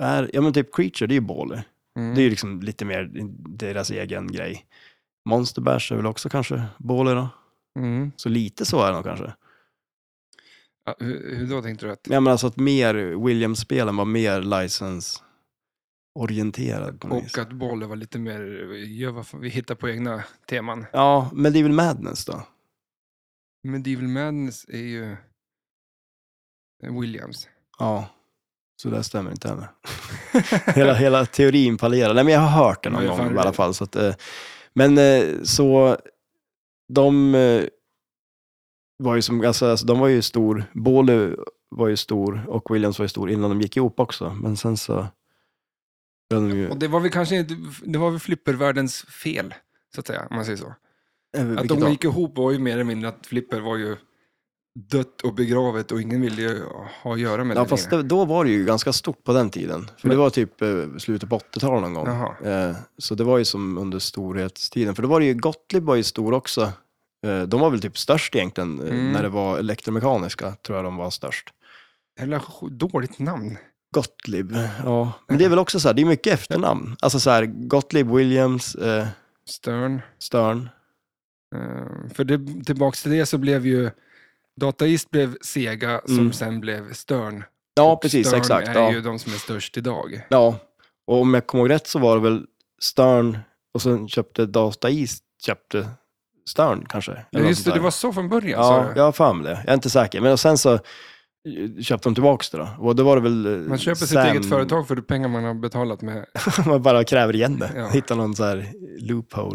Speaker 2: är, ja men typ Creature, det är ju Baller.
Speaker 1: Mm.
Speaker 2: Det är ju liksom lite mer deras egen grej. Monsterbärs är väl också kanske Baller då?
Speaker 1: mm.
Speaker 2: Så lite så är det nog kanske.
Speaker 1: ja, hur, hur då tänkte du att...
Speaker 2: Ja, men alltså att mer Williams-spelen var mer license-orienterad på något vis.
Speaker 1: Och att bollen var lite mer, gör vad fan- vi hittar på egna teman.
Speaker 2: Ja, men det är väl Madness då?
Speaker 1: Medieval Madness är ju Williams.
Speaker 2: Ja, så det här stämmer inte heller. hela, hela teorin fallerar. Nej, men jag har hört det någon
Speaker 1: Men fan,
Speaker 2: gång i
Speaker 1: det-
Speaker 2: alla fall. Så att, eh, men eh, så de eh, var ju som, alltså, alltså de var ju stor, Båle var ju stor och Williams var ju stor innan de gick ihop också. Men sen så blev de ju,
Speaker 1: Och det var väl kanske inte, det var väl flippervärldens fel, så att säga, om man säger så.
Speaker 2: Eh, vilket
Speaker 1: Att
Speaker 2: då?
Speaker 1: de gick ihop var ju mer eller mindre att flipper var ju dött och begravet och ingen ville ju ha att göra med
Speaker 2: Ja,
Speaker 1: det
Speaker 2: fast
Speaker 1: längre.
Speaker 2: det, då var det ju ganska stort på den tiden. För
Speaker 1: Men-
Speaker 2: det var typ eh, slutet på 80-talet någon gång.
Speaker 1: Jaha.
Speaker 2: Eh, Så det var ju som under storhetstiden. För då var det ju, Gottlieb var ju stor också. Eh, De var väl typ störst egentligen eh,
Speaker 1: Mm.
Speaker 2: när det var elektromekaniska, tror jag de var störst.
Speaker 1: Jävla sj- dåligt namn.
Speaker 2: Gottlieb, ja. Men det är väl också så här, det är mycket efternamn. Alltså så här, Gottlieb, Williams, eh,
Speaker 1: Stern.
Speaker 2: Stern.
Speaker 1: Eh, För det, tillbaks till det så blev ju Dataist blev Sega som
Speaker 2: Mm.
Speaker 1: sen blev Stern.
Speaker 2: Ja,
Speaker 1: Och
Speaker 2: precis,
Speaker 1: Stern
Speaker 2: exakt.
Speaker 1: är
Speaker 2: Ja.
Speaker 1: ju de som är störst idag.
Speaker 2: ja, och om jag kommer ihåg rätt så var det väl Stern och sen köpte Data East, köpte Stern kanske. eller
Speaker 1: Ja,
Speaker 2: något
Speaker 1: just
Speaker 2: sånt
Speaker 1: det,
Speaker 2: där.
Speaker 1: det var så från början. sa
Speaker 2: Ja,
Speaker 1: du.
Speaker 2: jag har för mig det. Jag är inte säker. Men och sen så eh, köpte de tillbaka det då. Och då var det väl eh,
Speaker 1: Man köper sitt
Speaker 2: Sam-
Speaker 1: eget företag för de pengar man har betalat med.
Speaker 2: man bara kräver igen det.
Speaker 1: Ja.
Speaker 2: Hittar någon så här loophole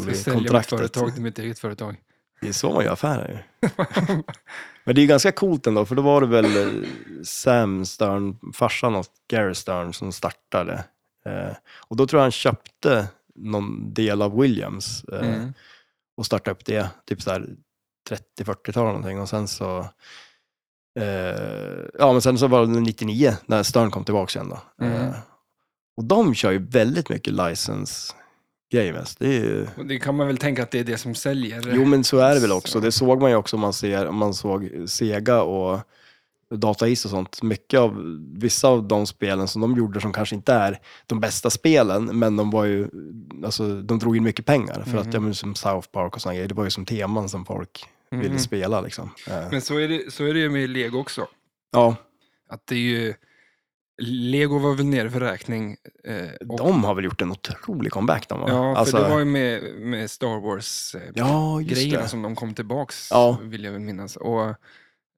Speaker 1: Ska
Speaker 2: i
Speaker 1: sälja mitt
Speaker 2: kontraktet.
Speaker 1: företag till mitt eget företag.
Speaker 2: Det är så man gör affärer ju. Men det är ju ganska coolt ändå, för då var det väl eh, Sam Stern, farsan åt Gary Stern, som startade. Eh, och då tror jag han köpte någon del av Williams eh,
Speaker 1: Mm.
Speaker 2: och startade upp det, typ så här 30-40-tal någonting. Och sen så, eh, ja men sen så var det 99 när Stern kom tillbaka igen då.
Speaker 1: Mm.
Speaker 2: Eh, och de kör ju väldigt mycket license-grejer mest. Det är ju...
Speaker 1: Och det kan man väl tänka att det är det som säljer.
Speaker 2: Jo, men så är det väl också.
Speaker 1: Så.
Speaker 2: Det såg man ju också om man, ser, om man såg Sega och Data East och sånt. Mycket av, vissa av de spelen som de gjorde som kanske inte är de bästa spelen, men de var ju, alltså de drog in mycket pengar. För att,
Speaker 1: Mhm.
Speaker 2: ja men som South Park och såna grejer, det var ju som teman som folk
Speaker 1: Mm.
Speaker 2: ville spela liksom. Eh,
Speaker 1: Men så är, det, så är det ju med Lego också.
Speaker 2: Ja,
Speaker 1: Att det är ju... Lego var väl nere för räkning. Eh, och,
Speaker 2: de har väl gjort en otrolig comeback de va?
Speaker 1: ja, för
Speaker 2: Alltså-
Speaker 1: det var ju med, med Star Wars-grejerna
Speaker 2: Ja, just det.
Speaker 1: som de kom tillbaks,
Speaker 2: Ja.
Speaker 1: vill jag väl minnas. Och,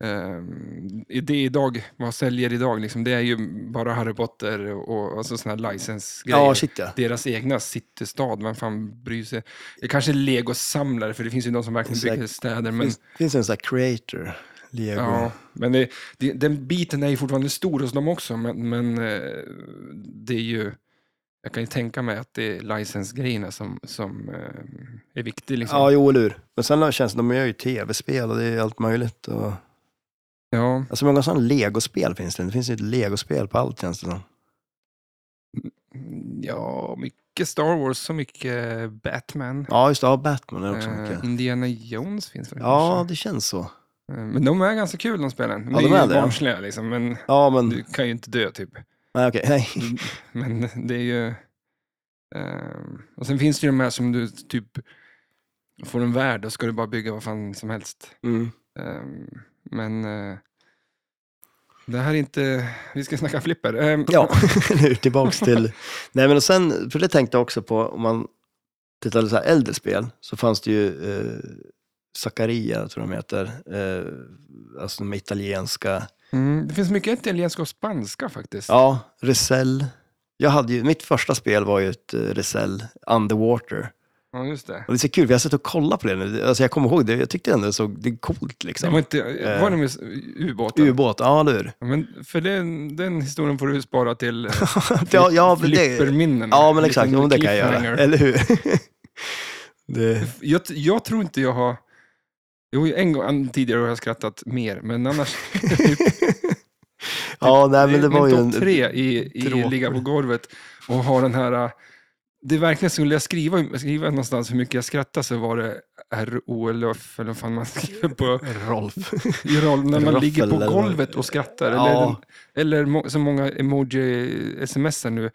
Speaker 1: ehm, det idag, vad säljer idag, liksom, det är ju bara Harry Potter och, och alltså sådana här license-grejer.
Speaker 2: Ja, shit ja.
Speaker 1: deras egna citystad, vem fan bryr sig? Det kanske är legosamlare, för det finns ju de som verkligen
Speaker 2: Exakt.
Speaker 1: bygger städer.
Speaker 2: Det
Speaker 1: Men,
Speaker 2: finns, finns en sån här creator, Lego.
Speaker 1: ja, men det, det, den biten är ju fortfarande stor hos dem också, men, men eh, det är ju... Jag kan ju tänka mig att det är licensgrejerna som, som eh, är viktig. Liksom.
Speaker 2: Ja, jo, eller hur. Men sen känns det, de gör ju tv-spel och det är allt möjligt. Och...
Speaker 1: ja.
Speaker 2: Alltså hur många sådana legospel finns det? Det finns ju ett legospel på allt känns det som.
Speaker 1: Mm, Ja, mycket Star Wars så mycket eh, Batman.
Speaker 2: Ja, just det. Ja, Batman är också
Speaker 1: Eh,
Speaker 2: mycket.
Speaker 1: Indiana Jones finns väl
Speaker 2: Ja,
Speaker 1: kanske.
Speaker 2: det känns så.
Speaker 1: Eh, Men de är ganska kul de spelen.
Speaker 2: Ja, de
Speaker 1: är
Speaker 2: är
Speaker 1: ju
Speaker 2: det, ja.
Speaker 1: barnsliga liksom, men
Speaker 2: Ja, men...
Speaker 1: du kan ju inte dö typ.
Speaker 2: Nej, okej. Nej.
Speaker 1: Men det är ju... ehm, och sen finns det ju de här som du typ får en värld och ska du bara bygga vad fan som helst.
Speaker 2: Mm.
Speaker 1: Ehm, men eh, det här är inte... Vi ska snacka flipper. Ehm,
Speaker 2: Ja, nu tillbaks till... Nej, men och sen, för det tänkte jag också på, om man tittar på så här äldre spel, så fanns det ju eh, Zaccaria, tror jag de heter, eh, alltså de italienska.
Speaker 1: Mm, det finns mycket italienska och spanska faktiskt.
Speaker 2: Ja, Resell. Jag hade ju, mitt första spel var ju ett eh, Resell, Underwater.
Speaker 1: Ja, just det.
Speaker 2: Och det är så kul, för jag har suttit och kollat på det nu. Alltså jag kommer ihåg det, jag tyckte ändå det såg, det är coolt
Speaker 1: Det var,
Speaker 2: liksom.
Speaker 1: inte,
Speaker 2: Eh,
Speaker 1: var det med ubåten?
Speaker 2: Ubåt, ja eller hur?
Speaker 1: Ja, men för den, den historien får du spara till eh,
Speaker 2: Ja, ja, men det,
Speaker 1: flipperminnen.
Speaker 2: ja men
Speaker 1: Liten
Speaker 2: exakt, jo, men det kan jag
Speaker 1: cliffhanger.
Speaker 2: göra, eller hur? det,
Speaker 1: Jag, jag tror inte jag har... Jo, en gång tidigare har jag skrattat mer, men annars...
Speaker 2: ja, nej men det var ju
Speaker 1: Min topp
Speaker 2: en...
Speaker 1: tre i, i
Speaker 2: tråkig.
Speaker 1: ligga på golvet och ha den här... äh, det verkligen skulle jag skriva, skriva någonstans hur mycket jag skrattar så var det ROLF, eller vad fan man skriver på,
Speaker 2: Rolf.
Speaker 1: i roll, när man
Speaker 2: Ruffel
Speaker 1: ligger
Speaker 2: eller
Speaker 1: på
Speaker 2: vad-
Speaker 1: golvet och skrattar. Eller,
Speaker 2: Ja.
Speaker 1: den, eller må, så många emoji-smsar nu. Där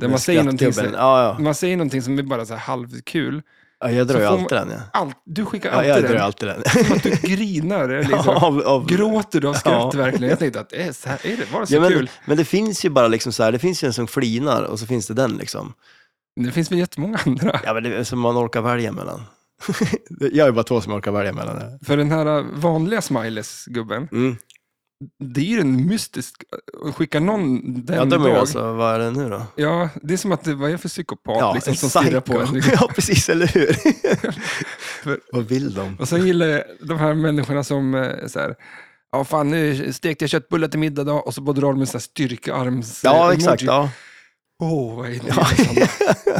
Speaker 1: man
Speaker 2: Med
Speaker 1: säger någonting så-
Speaker 2: skrattgubben. Ja, ja.
Speaker 1: Man säger någonting som är bara så här halvkul.
Speaker 2: ja, jag drar
Speaker 1: Så
Speaker 2: ju
Speaker 1: får man-
Speaker 2: alltid den. Ja.
Speaker 1: Allt, du skickar
Speaker 2: Ja,
Speaker 1: alltid
Speaker 2: jag
Speaker 1: den.
Speaker 2: drar alltid den.
Speaker 1: Som att du grinar. eller Liksom.
Speaker 2: av, av...
Speaker 1: Gråter du av skratt
Speaker 2: Ja.
Speaker 1: verkligen? Jag tänkte att, eh, så här är det, var det så
Speaker 2: Ja, men,
Speaker 1: kul?
Speaker 2: men det finns ju bara liksom så här, det finns ju en som flinar och så finns det den liksom.
Speaker 1: Det finns väl jättemånga andra.
Speaker 2: Ja, men det är som man orkar välja mellan. jag är bara två som jag orkar välja mellan.
Speaker 1: För den här vanliga smileys-gubben,
Speaker 2: Mm.
Speaker 1: det är ju en mystisk, att skicka någon den
Speaker 2: Ja, de är
Speaker 1: dag.
Speaker 2: ju alltså, vad är det nu då?
Speaker 1: Ja, det är som att, det- vad är jag för psykopat liksom,
Speaker 2: en
Speaker 1: som stirrar på en?
Speaker 2: psycho.
Speaker 1: Liksom.
Speaker 2: ja, precis, eller hur?
Speaker 1: För-
Speaker 2: Vad vill de?
Speaker 1: Och sen gillar jag de här människorna som eh, så här, ja fan nu stekte jag köttbullar till middag idag och så bara drar de en sån här styrkearms eh,
Speaker 2: Ja,
Speaker 1: emoji.
Speaker 2: exakt. Ja.
Speaker 1: Åh, vad är det?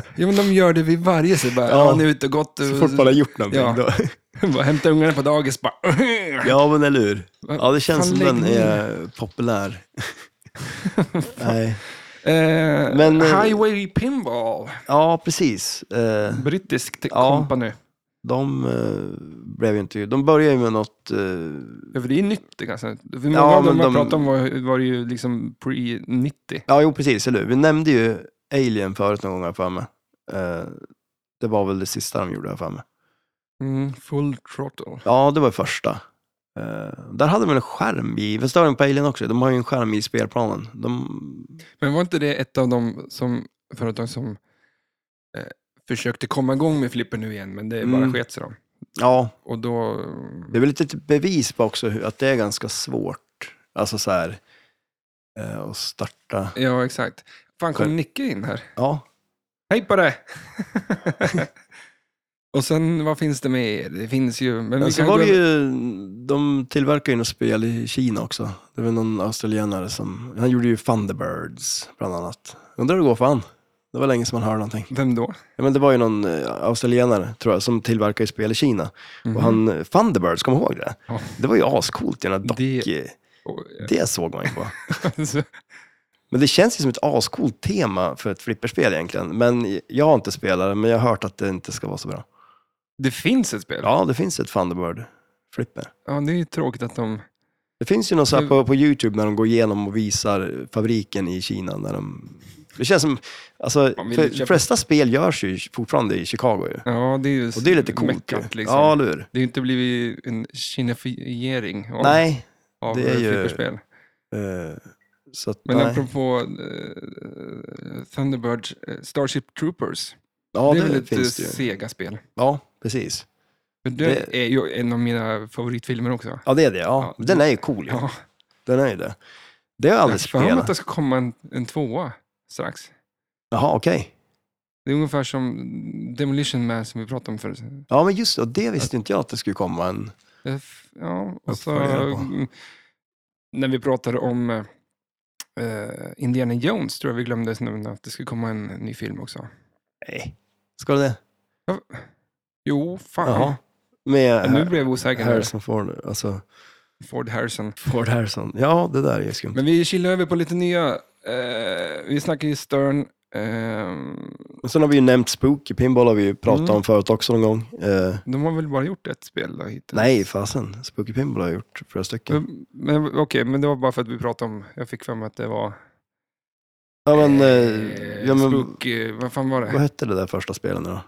Speaker 1: ja, men de gör det vid varje, så bara,
Speaker 2: Ja.
Speaker 1: ja, nu är ute och gått.
Speaker 2: Så fort man har gjort någonting.
Speaker 1: Ja.
Speaker 2: Då.
Speaker 1: Bara hämta ungarna på dagis, bara...
Speaker 2: ja, men eller hur?
Speaker 1: Va-
Speaker 2: Ja, det känns
Speaker 1: fan,
Speaker 2: som den
Speaker 1: lägg ner.
Speaker 2: är populär. Nej.
Speaker 1: Eh,
Speaker 2: Men, eh,
Speaker 1: Highway Pinball,
Speaker 2: Ja, precis. Eh,
Speaker 1: brittisk
Speaker 2: Ja.
Speaker 1: ja. company.
Speaker 2: De eh, blev ju inte... De började ju med något... eh,
Speaker 1: Ja, för det är nytt. det Ganska. För många
Speaker 2: Ja,
Speaker 1: av de
Speaker 2: men
Speaker 1: man
Speaker 2: de-
Speaker 1: pratade om var, var ju liksom pre-90.
Speaker 2: Ja, jo, precis. Eller hur? Vi nämnde ju Alien förut någon gång, har jag för mig. Eh, Det var väl det sista de gjorde, har jag för mig.
Speaker 1: Mm, full Throttle.
Speaker 2: Ja, det var första. Eh, där hade man en skärm i, visst har de på Alien också? De har ju en skärm i spelplanen. De,
Speaker 1: Men var inte det ett av de som, företag som eh, försökte komma igång med flipper nu igen, men det bara
Speaker 2: Mm.
Speaker 1: sket sig dem.
Speaker 2: ja,
Speaker 1: Och då...
Speaker 2: det är väl lite ett bevis på också hur, att det är ganska svårt. Alltså så här, eh, att starta.
Speaker 1: Ja, exakt. Fan,
Speaker 2: För-
Speaker 1: kom Nicke in här?
Speaker 2: Ja,
Speaker 1: Hej på det! Och sen, vad finns det mer? Det finns ju... Men
Speaker 2: men
Speaker 1: vi
Speaker 2: så
Speaker 1: kan
Speaker 2: var
Speaker 1: gå
Speaker 2: det
Speaker 1: över-
Speaker 2: ju, de tillverkar ju något spel i Kina också. Det var någon australienare som, han gjorde ju Thunderbirds bland annat. Undrar hur det går för han. Det var länge sedan man hörde någonting.
Speaker 1: Vem då?
Speaker 2: Ja, men det var ju någon eh, australienare, tror jag, som tillverkar ju spel i Kina. Och han, eh, Thunderbirds, kom ihåg det?
Speaker 1: Ja.
Speaker 2: Det var ju ascoolt, den där dock... eh,
Speaker 1: Det-
Speaker 2: Det...
Speaker 1: Och,
Speaker 2: såg man ju på.
Speaker 1: eh, så-
Speaker 2: Men det känns ju som ett ascoolt tema för ett flipperspel egentligen. Men jag har inte spelat det, men jag har hört att det inte ska vara så bra.
Speaker 1: det finns ett spel. Ja.
Speaker 2: Ja, det finns ett Thunderbird-flipper.
Speaker 1: det är ju tråkigt att de...
Speaker 2: Det finns ju något så här
Speaker 1: Men-
Speaker 2: på, på YouTube när de går igenom och visar fabriken i Kina. När de... Det känns som, alltså,
Speaker 1: Man vill
Speaker 2: för,
Speaker 1: ju köpa-
Speaker 2: flesta spel görs ju fortfarande i Chicago ju.
Speaker 1: Ja, det är ju...
Speaker 2: Och det är lite coolt
Speaker 1: meckat,
Speaker 2: ju.
Speaker 1: liksom.
Speaker 2: Ja, eller hur?
Speaker 1: Det har ju inte blivit en kinifiering av,
Speaker 2: Nej,
Speaker 1: av
Speaker 2: det är ju-
Speaker 1: flipperspel.
Speaker 2: Eh, så att,
Speaker 1: Men
Speaker 2: nej.
Speaker 1: apropå eh, Thunderbird, eh, Starship Troopers.
Speaker 2: ja,
Speaker 1: det är
Speaker 2: det,
Speaker 1: väl ett eh,
Speaker 2: finns det ju.
Speaker 1: Sega-spel.
Speaker 2: Ja, precis.
Speaker 1: Men Det,
Speaker 2: Det-
Speaker 1: är ju en av mina favoritfilmer också.
Speaker 2: Ja, det är det. Ja.
Speaker 1: Ja.
Speaker 2: Den är ju cool. ju.
Speaker 1: Ja,
Speaker 2: Den är ju det. Det har jag
Speaker 1: jag har
Speaker 2: aldrig
Speaker 1: för mig att
Speaker 2: spelat.
Speaker 1: det ska komma en, en tvåa strax.
Speaker 2: Jaha, okej.
Speaker 1: Det är ungefär som Demolition Man som vi pratade om förut.
Speaker 2: Ja, men just det. Och det visste inte jag att det skulle komma en...
Speaker 1: Eh, f- Ja, och så,
Speaker 2: Vad får jag reda på?
Speaker 1: mm, när vi pratade om eh, eh, Indiana Jones tror jag vi glömde nämna att det skulle komma en ny film också.
Speaker 2: Nej. Ska det?
Speaker 1: Jo, fan.
Speaker 2: Jaha. Med
Speaker 1: Nu
Speaker 2: Har-
Speaker 1: blev jag osäker. här.
Speaker 2: Harrison Ford. Alltså,
Speaker 1: Ford Harrison.
Speaker 2: Ford Harrison. Ja, det där är ju skumt.
Speaker 1: Men vi kilar över på lite nya. Eh, vi snackar ju Stern. ehm,
Speaker 2: Och sen har vi ju nämnt Spooky Pinball har vi ju pratat
Speaker 1: Mm.
Speaker 2: om förut också någon gång. Eh,
Speaker 1: de har väl bara gjort ett spel då hittills?
Speaker 2: nej, fasen. Spooky Pinball har jag gjort flera stycken.
Speaker 1: Men- men Okej, men det var bara för att vi pratade om, jag fick för mig att det var...
Speaker 2: Ja, men... Eh,
Speaker 1: eh,
Speaker 2: ja, men
Speaker 1: Spook, eh, vad fan var det?
Speaker 2: Vad hette det där första spelet nu då?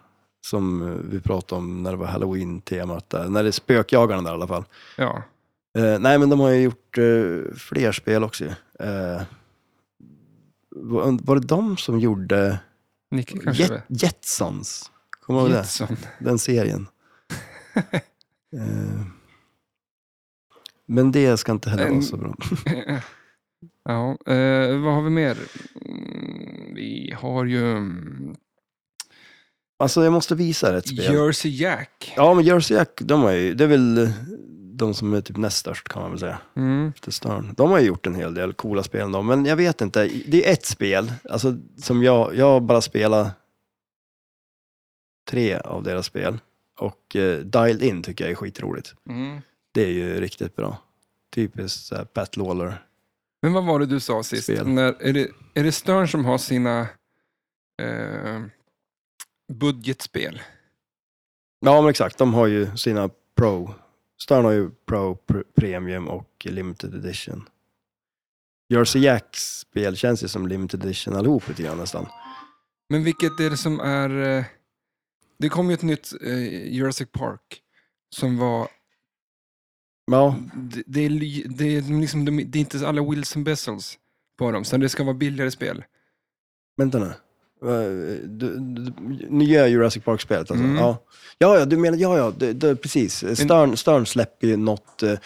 Speaker 2: Som eh, vi pratade om när det var halloween-temat där. När det är spökjagarna där i alla fall.
Speaker 1: Ja.
Speaker 2: Eh, nej, men de har ju gjort eh, fler spel också. ju. Eh, var, var det de som gjorde
Speaker 1: Nicke kanske?
Speaker 2: Jet,
Speaker 1: det
Speaker 2: Jetsons? Kommer du
Speaker 1: var.
Speaker 2: ihåg det?
Speaker 1: Jetson.
Speaker 2: Den serien. eh, men det ska inte heller vara
Speaker 1: En-
Speaker 2: så bra.
Speaker 1: ja, eh, vad har vi mer? Mm, Vi har ju mm,
Speaker 2: Alltså, jag måste visa er ett spel.
Speaker 1: Jersey Jack.
Speaker 2: Ja, men Jersey Jack, de har ju, det är väl de som är typ näst störst kan man väl säga.
Speaker 1: Mm.
Speaker 2: efter Stern. De har ju gjort en hel del coola spel ändå, men jag vet inte. Det är ett spel, alltså, som jag, jag har bara spelat tre av deras spel. Och eh, Dialed In tycker jag är skitroligt.
Speaker 1: Mm.
Speaker 2: Det är ju riktigt bra. Typiskt så här, Pat Lawler.
Speaker 1: Men vad var det du sa sist?
Speaker 2: Spel.
Speaker 1: När, är, det, är det Stern som har sina... Eh, budgetspel.
Speaker 2: Ja, men exakt. De har ju sina Pro. Stern har ju Pro, Pr- Premium och Limited Edition. Jersey Jacks spel känns ju som Limited Edition allihop lite grann nästan.
Speaker 1: Men vilket är det som är... eh, Det kom ju ett nytt eh, Jurassic Park som var...
Speaker 2: Ja,
Speaker 1: Det, det, är, ly- det, är liksom, de- det är inte alla Wilson Bessels på dem, så det ska vara billigare spel.
Speaker 2: vänta nu. Eh, Du, du, nya Jurassic Park-spelet alltså?
Speaker 1: Mm.
Speaker 2: Ja. ja, ja, du menar, ja, ja, det, det, precis. Stern, Stern släpper ju något eh,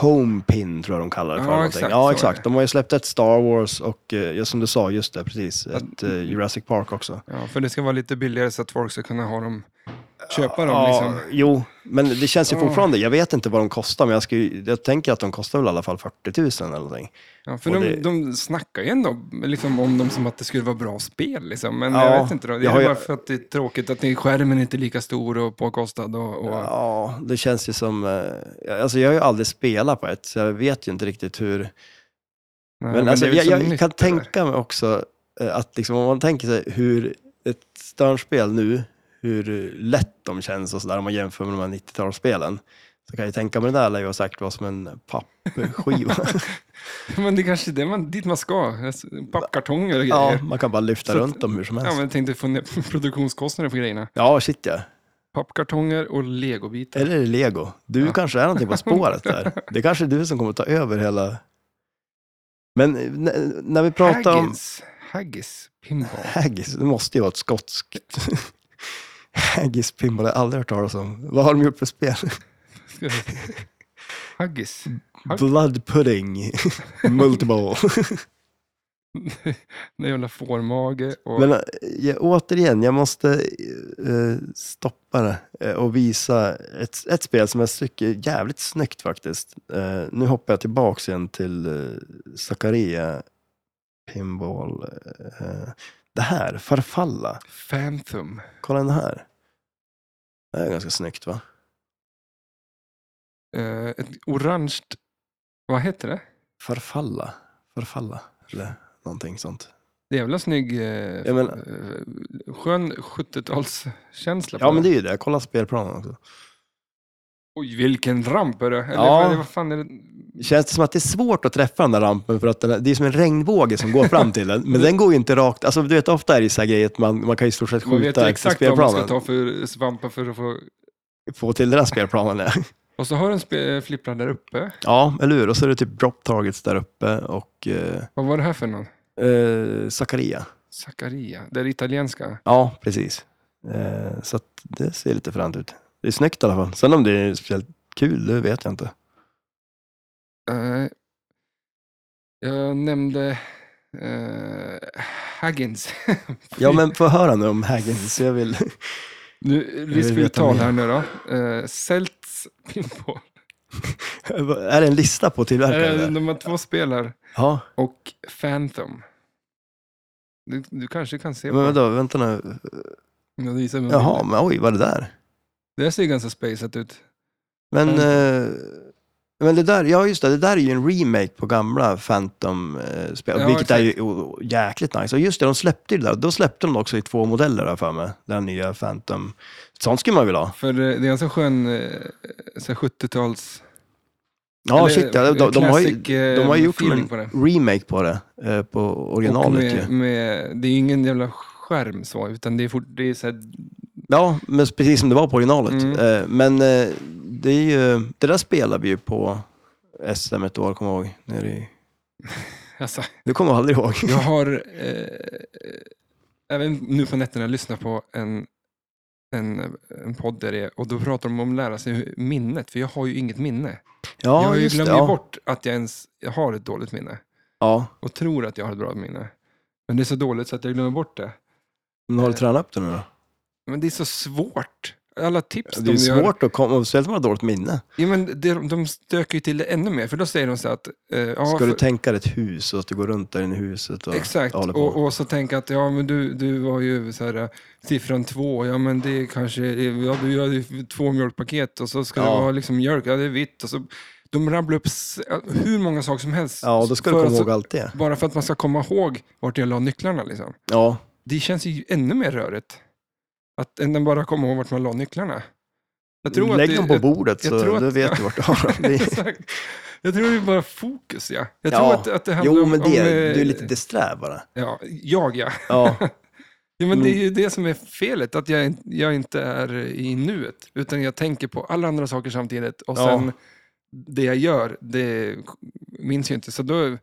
Speaker 2: Homepin tror jag de kallar det för.
Speaker 1: Ja,
Speaker 2: eller någonting.
Speaker 1: exakt, så är
Speaker 2: ja,
Speaker 1: det.
Speaker 2: exakt. De har ju släppt ett Star Wars och, eh, ja, som du sa, just det, precis.
Speaker 1: Att-
Speaker 2: Ett eh, Jurassic Park också.
Speaker 1: Ja, för det ska vara lite billigare så att folk ska kunna ha dem, köpa dem.
Speaker 2: Ja,
Speaker 1: Liksom.
Speaker 2: Jo, men det känns ju
Speaker 1: Ja.
Speaker 2: fortfarande, jag vet inte vad de kostar, men jag, ska ju, jag tänker att de kostar väl i alla fall 40 000 eller någonting.
Speaker 1: Ja, för
Speaker 2: och
Speaker 1: de,
Speaker 2: det-
Speaker 1: de snackar ju ändå liksom, om dem som att det skulle vara bra spel. Liksom. Men
Speaker 2: Ja,
Speaker 1: jag vet inte, då. det
Speaker 2: jag
Speaker 1: är
Speaker 2: har
Speaker 1: väl
Speaker 2: ju-
Speaker 1: bara för att det är tråkigt att det är- skärmen inte är lika stor och påkostad. Och, och...
Speaker 2: Ja, det känns ju som, eh, alltså jag har ju aldrig spelat på ett, så jag vet ju inte riktigt hur.
Speaker 1: Nej,
Speaker 2: Men, alltså,
Speaker 1: det är väl
Speaker 2: jag,
Speaker 1: så
Speaker 2: jag
Speaker 1: nytt
Speaker 2: kan
Speaker 1: det där.
Speaker 2: tänka mig också eh, att liksom, om man tänker sig hur ett störnspel nu, hur lätt de känns och sådär om man jämför med de här 90-talsspelen. Så kan jag ju tänka mig det där lär ju ha sagt vara som en pappskiva.
Speaker 1: Men det kanske är det man, dit man ska. Alltså, Pappkartonger och
Speaker 2: ja, Alltså.
Speaker 1: grejer.
Speaker 2: man kan bara lyfta
Speaker 1: Så att-
Speaker 2: runt dem hur som
Speaker 1: Ja,
Speaker 2: helst.
Speaker 1: men jag tänkte få ner produktionskostnaden för grejerna.
Speaker 2: Ja, shit ja.
Speaker 1: Pappkartonger och legobitar.
Speaker 2: Eller är det lego? Du
Speaker 1: Ja.
Speaker 2: kanske är någonting på spåret där. Det är kanske är du som kommer ta över hela... Men eh, n- när vi pratar om...
Speaker 1: Haggis. Haggis. Pinball.
Speaker 2: Haggis. Det måste ju vara ett skotskt... Haggis pinball, jag har aldrig hört talas om. Vad har de gjort för spel?
Speaker 1: Haggis.
Speaker 2: Blood pudding, multiple.
Speaker 1: Den jävla fårmage. Och...
Speaker 2: Men eh, jag, återigen, jag måste eh, stoppa det eh, och visa ett, ett spel som jag tycker är jävligt snyggt faktiskt. Eh, nu hoppar jag tillbaks igen till eh, Zakaria Pinball. Eh, det här, Farfalla.
Speaker 1: Phantom.
Speaker 2: Kolla den här. Det här är ganska snyggt va?
Speaker 1: Eh, ett orange... Vad heter det?
Speaker 2: Farfalla. Farfalla. Eller någonting sånt.
Speaker 1: Det är jävla snygg... Eh,
Speaker 2: Jag menar-
Speaker 1: eh, skön 70-talskänsla. på
Speaker 2: Ja
Speaker 1: den.
Speaker 2: men det är ju det, kolla spelplanen också.
Speaker 1: Oj, vilken ramp är det? Eller
Speaker 2: Ja.
Speaker 1: vad, vad fan är det?
Speaker 2: Känns det som att det är svårt att träffa den där rampen för att den, här- det är som en regnbåge som går fram till den. Men den går ju inte rakt. Alltså du vet ofta är det ju så här grejer att man, man kan ju i stort sett
Speaker 1: Man vet ju
Speaker 2: skjuta efter
Speaker 1: exakt vad man ska
Speaker 2: spelplanen.
Speaker 1: ta för svampar för att få...
Speaker 2: Få till den här spelplanen. ja.
Speaker 1: Och så har du en spe- flipprar där uppe.
Speaker 2: ja, eller hur? Och så är det typ drop targets där uppe och eh,
Speaker 1: Vad var det här för någon?
Speaker 2: eh, Zakaria.
Speaker 1: Zaccaria. Det är det italienska.
Speaker 2: Ja, precis. Eh, så att det ser lite fränt ut. Det är snyggt i alla fall. Sen om det är speciellt kul, det vet jag inte.
Speaker 1: Eh, jag nämnde eh, Haggins.
Speaker 2: Ja, men få höra nu om Haggins. Jag vill...
Speaker 1: Nu,
Speaker 2: vill
Speaker 1: riskt för
Speaker 2: veta
Speaker 1: uttal
Speaker 2: mer.
Speaker 1: här nu då. Eh, Celts Pinball.
Speaker 2: är det en lista på tillverkare?
Speaker 1: Eh,
Speaker 2: där?
Speaker 1: de har två spel här.
Speaker 2: Ja.
Speaker 1: Och Phantom. Du, du kanske kan se
Speaker 2: Men
Speaker 1: på.
Speaker 2: vadå, vänta nu.
Speaker 1: Jag visar med
Speaker 2: Jaha,
Speaker 1: bilden.
Speaker 2: men oj, vad är det där?
Speaker 1: Det här ser ju ganska spacet ut.
Speaker 2: Men,
Speaker 1: Phantom.
Speaker 2: eh, men det där, ja just det, det där är ju en remake på gamla Phantom-spel,
Speaker 1: Ja,
Speaker 2: vilket är
Speaker 1: exakt.
Speaker 2: ju o- jäkligt nice. Och just det, de släppte ju det där, då släppte de det också i två modeller där för mig, den nya Phantom. Sånt skulle man vilja ha.
Speaker 1: För eh, det är en ganska skön eh, så här 70-tals...
Speaker 2: Ja,
Speaker 1: Eller,
Speaker 2: shit, ja, de, de, de, har ju,
Speaker 1: classic, eh,
Speaker 2: de har ju gjort som
Speaker 1: feeling
Speaker 2: en
Speaker 1: på det.
Speaker 2: remake på det, eh, på
Speaker 1: Och
Speaker 2: originalet
Speaker 1: med,
Speaker 2: ju.
Speaker 1: med, det är ju ingen jävla skärm så, utan det är, fort, det är så här,
Speaker 2: Ja, men precis som det var på originalet.
Speaker 1: Mm.
Speaker 2: Eh, men eh, det, är ju, det där spelar vi ju på SM ett år, kommer jag ihåg. Nere i,
Speaker 1: alltså,
Speaker 2: du kommer aldrig ihåg.
Speaker 1: jag har eh, eh, även nu på nätterna lyssnat på en, en, en podd där det är, och då pratar de om att lära sig hur- minnet, för jag har ju inget minne.
Speaker 2: Ja,
Speaker 1: jag har ju
Speaker 2: just det,
Speaker 1: glömt ju
Speaker 2: ja.
Speaker 1: bort att jag ens jag har ett dåligt minne
Speaker 2: Ja,
Speaker 1: och tror att jag har ett bra minne. Men det är så dåligt så att jag glömmer bort det.
Speaker 2: men har du tränat upp det nu då?
Speaker 1: Men det är så svårt. Alla tips
Speaker 2: Det är ju
Speaker 1: de gör.
Speaker 2: svårt att komma, och speciellt om man har dåligt minne.
Speaker 1: Ja, men det, de stöker ju till det ännu mer, för då säger de så här att... Eh, ja,
Speaker 2: Ska
Speaker 1: för-
Speaker 2: du tänka dig ett hus och att du går runt där inne i huset och
Speaker 1: Exakt,
Speaker 2: håller på.
Speaker 1: och, och så tänka att ja, men du, du var ju så här, eh, siffran två, ja men det kanske, ja, du gör ju två mjölkpaket och så ska det
Speaker 2: Ja.
Speaker 1: vara liksom mjölk, ja det är vitt. Och så, de rabblar upp s- hur många saker som helst.
Speaker 2: Ja, och då ska du
Speaker 1: för
Speaker 2: komma
Speaker 1: att så-
Speaker 2: ihåg allt det.
Speaker 1: Bara för att man ska komma ihåg vart jag la nycklarna. Liksom.
Speaker 2: Ja,
Speaker 1: Det känns ju ännu mer rörigt. Att den bara kommer ihåg vart man la nycklarna. Jag tror
Speaker 2: Lägg
Speaker 1: att det,
Speaker 2: dem på bordet
Speaker 1: jag
Speaker 2: så
Speaker 1: tror att-
Speaker 2: då vet du vart du har dem. Det-
Speaker 1: Exakt. Jag tror det är bara fokus, ja. Jag
Speaker 2: Ja.
Speaker 1: tror att, att det handlar
Speaker 2: Jo,
Speaker 1: om... eh,
Speaker 2: men det,
Speaker 1: om,
Speaker 2: du är lite disträ bara.
Speaker 1: Ja, jag ja.
Speaker 2: Ja,
Speaker 1: ja men
Speaker 2: Mm.
Speaker 1: det är ju det som är felet, att jag, jag inte är i nuet. Utan jag tänker på alla andra saker samtidigt. Och
Speaker 2: Ja.
Speaker 1: sen, det jag gör, det minns jag inte. Så, då,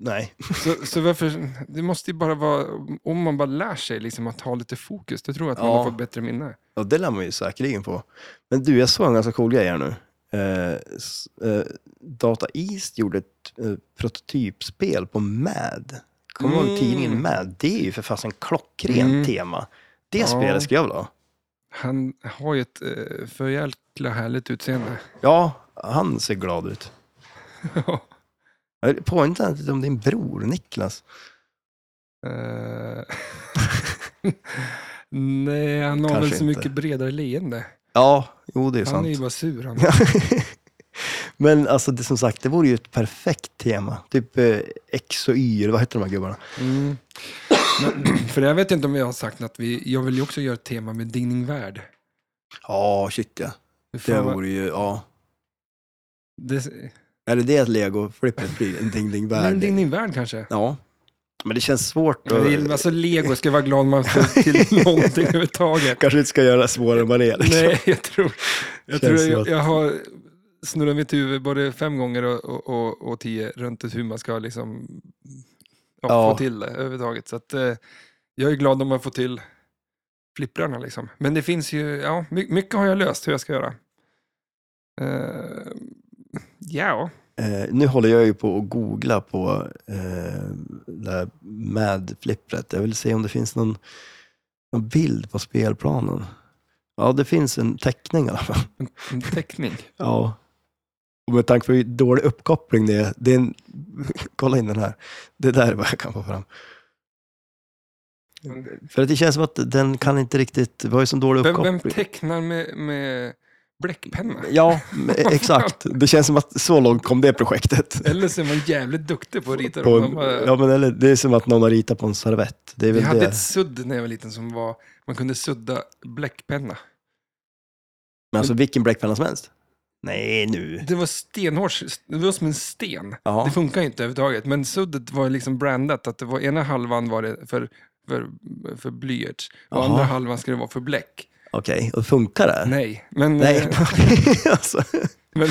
Speaker 2: nej.
Speaker 1: så, så varför... Det måste ju bara vara... Om man bara lär sig liksom att ha lite fokus, då tror jag att
Speaker 2: Ja.
Speaker 1: man får bättre minne.
Speaker 2: Och det lär man ju säkerligen på. Men du, jag såg en ganska cool grej här nu. Eh, s- eh, Data East gjorde ett eh, prototypspel på Mad. Kommer du ihåg
Speaker 1: Mm.
Speaker 2: tidningen Mad? Det är ju för fasen klockrent
Speaker 1: Mm.
Speaker 2: tema. Det
Speaker 1: Ja.
Speaker 2: spelet skulle jag vilja ha.
Speaker 1: Han har ju ett eh, för jäkla härligt utseende.
Speaker 2: Ja, han ser glad ut. Jag Påminner inte han lite om din bror Niklas?
Speaker 1: Eh, Nej, han har
Speaker 2: Kanske
Speaker 1: väl så
Speaker 2: inte.
Speaker 1: mycket bredare leende.
Speaker 2: Ja, jo det är
Speaker 1: han
Speaker 2: sant.
Speaker 1: är ju bara sur. Han.
Speaker 2: Men alltså, det, som sagt, det vore ju ett perfekt tema. Typ eh, X och Y, eller vad heter de här gubbarna?
Speaker 1: Mm. Men, för jag vet inte om jag har sagt att vi, jag vill ju också göra ett tema med Dinning Värld.
Speaker 2: Ja, shit ja.
Speaker 1: Hur fan
Speaker 2: Det
Speaker 1: var-
Speaker 2: vore ju, ja.
Speaker 1: det,
Speaker 2: Eller det är ett lego-flipper blir en ding ding
Speaker 1: men
Speaker 2: värld.
Speaker 1: Dinning Värld kanske?
Speaker 2: Ja. Men det känns svårt.
Speaker 1: Men det är-
Speaker 2: Och,
Speaker 1: Alltså lego ska vara glad om man får till någonting överhuvudtaget.
Speaker 2: kanske inte ska göra det svårare än vad det är. liksom.
Speaker 1: Nej, jag tror, jag,
Speaker 2: Känns
Speaker 1: tror
Speaker 2: som
Speaker 1: jag,
Speaker 2: att-
Speaker 1: jag har snurrat mitt huvud både fem gånger och, och, och, och tio runt hur man ska liksom, ja,
Speaker 2: Ja.
Speaker 1: få till det överhuvudtaget. Så att, eh, jag är glad om man får till flipprarna. Liksom. Men det finns ju, ja, my, mycket har jag löst hur jag ska göra. Eh, ja,
Speaker 2: Eh, nu håller jag ju på att googla på eh, det här Mad-flippret. Jag vill se om det finns någon, någon bild på spelplanen. Ja, det finns en teckning i alla fall.
Speaker 1: en teckning.
Speaker 2: Ja. Och med tanke på hur dålig uppkoppling det är. Det är en, kolla in den här. Det där är vad jag kan få fram. För att det känns som att den kan inte riktigt... Det var ju så dålig
Speaker 1: Vem,
Speaker 2: uppkoppling.
Speaker 1: vem tecknar med, med bläckpenna?
Speaker 2: Ja, men e, exakt. Det känns som att så långt kom det projektet.
Speaker 1: Eller så är man jävligt duktig på att rita
Speaker 2: På
Speaker 1: dem. De
Speaker 2: en,
Speaker 1: bara-
Speaker 2: ja, men eller, det är som att någon har ritat på en servett. Det är
Speaker 1: eh, Vi
Speaker 2: väl
Speaker 1: hade
Speaker 2: det.
Speaker 1: ett sudd när jag var liten som var, man kunde sudda bläckpenna.
Speaker 2: Men alltså vilken bläckpenna som helst. Nej, nu.
Speaker 1: Det var stenhårt, det var som en sten.
Speaker 2: Ja.
Speaker 1: Det funkar ju inte överhuvudtaget, men suddet var liksom brandat, att det var ena halvan var det för, för, för blyerts och
Speaker 2: Jaha.
Speaker 1: andra halvan skulle det vara för bläck.
Speaker 2: Okej, och funkar det?
Speaker 1: Nej, men,
Speaker 2: Nej.
Speaker 1: eh,
Speaker 2: alltså,
Speaker 1: men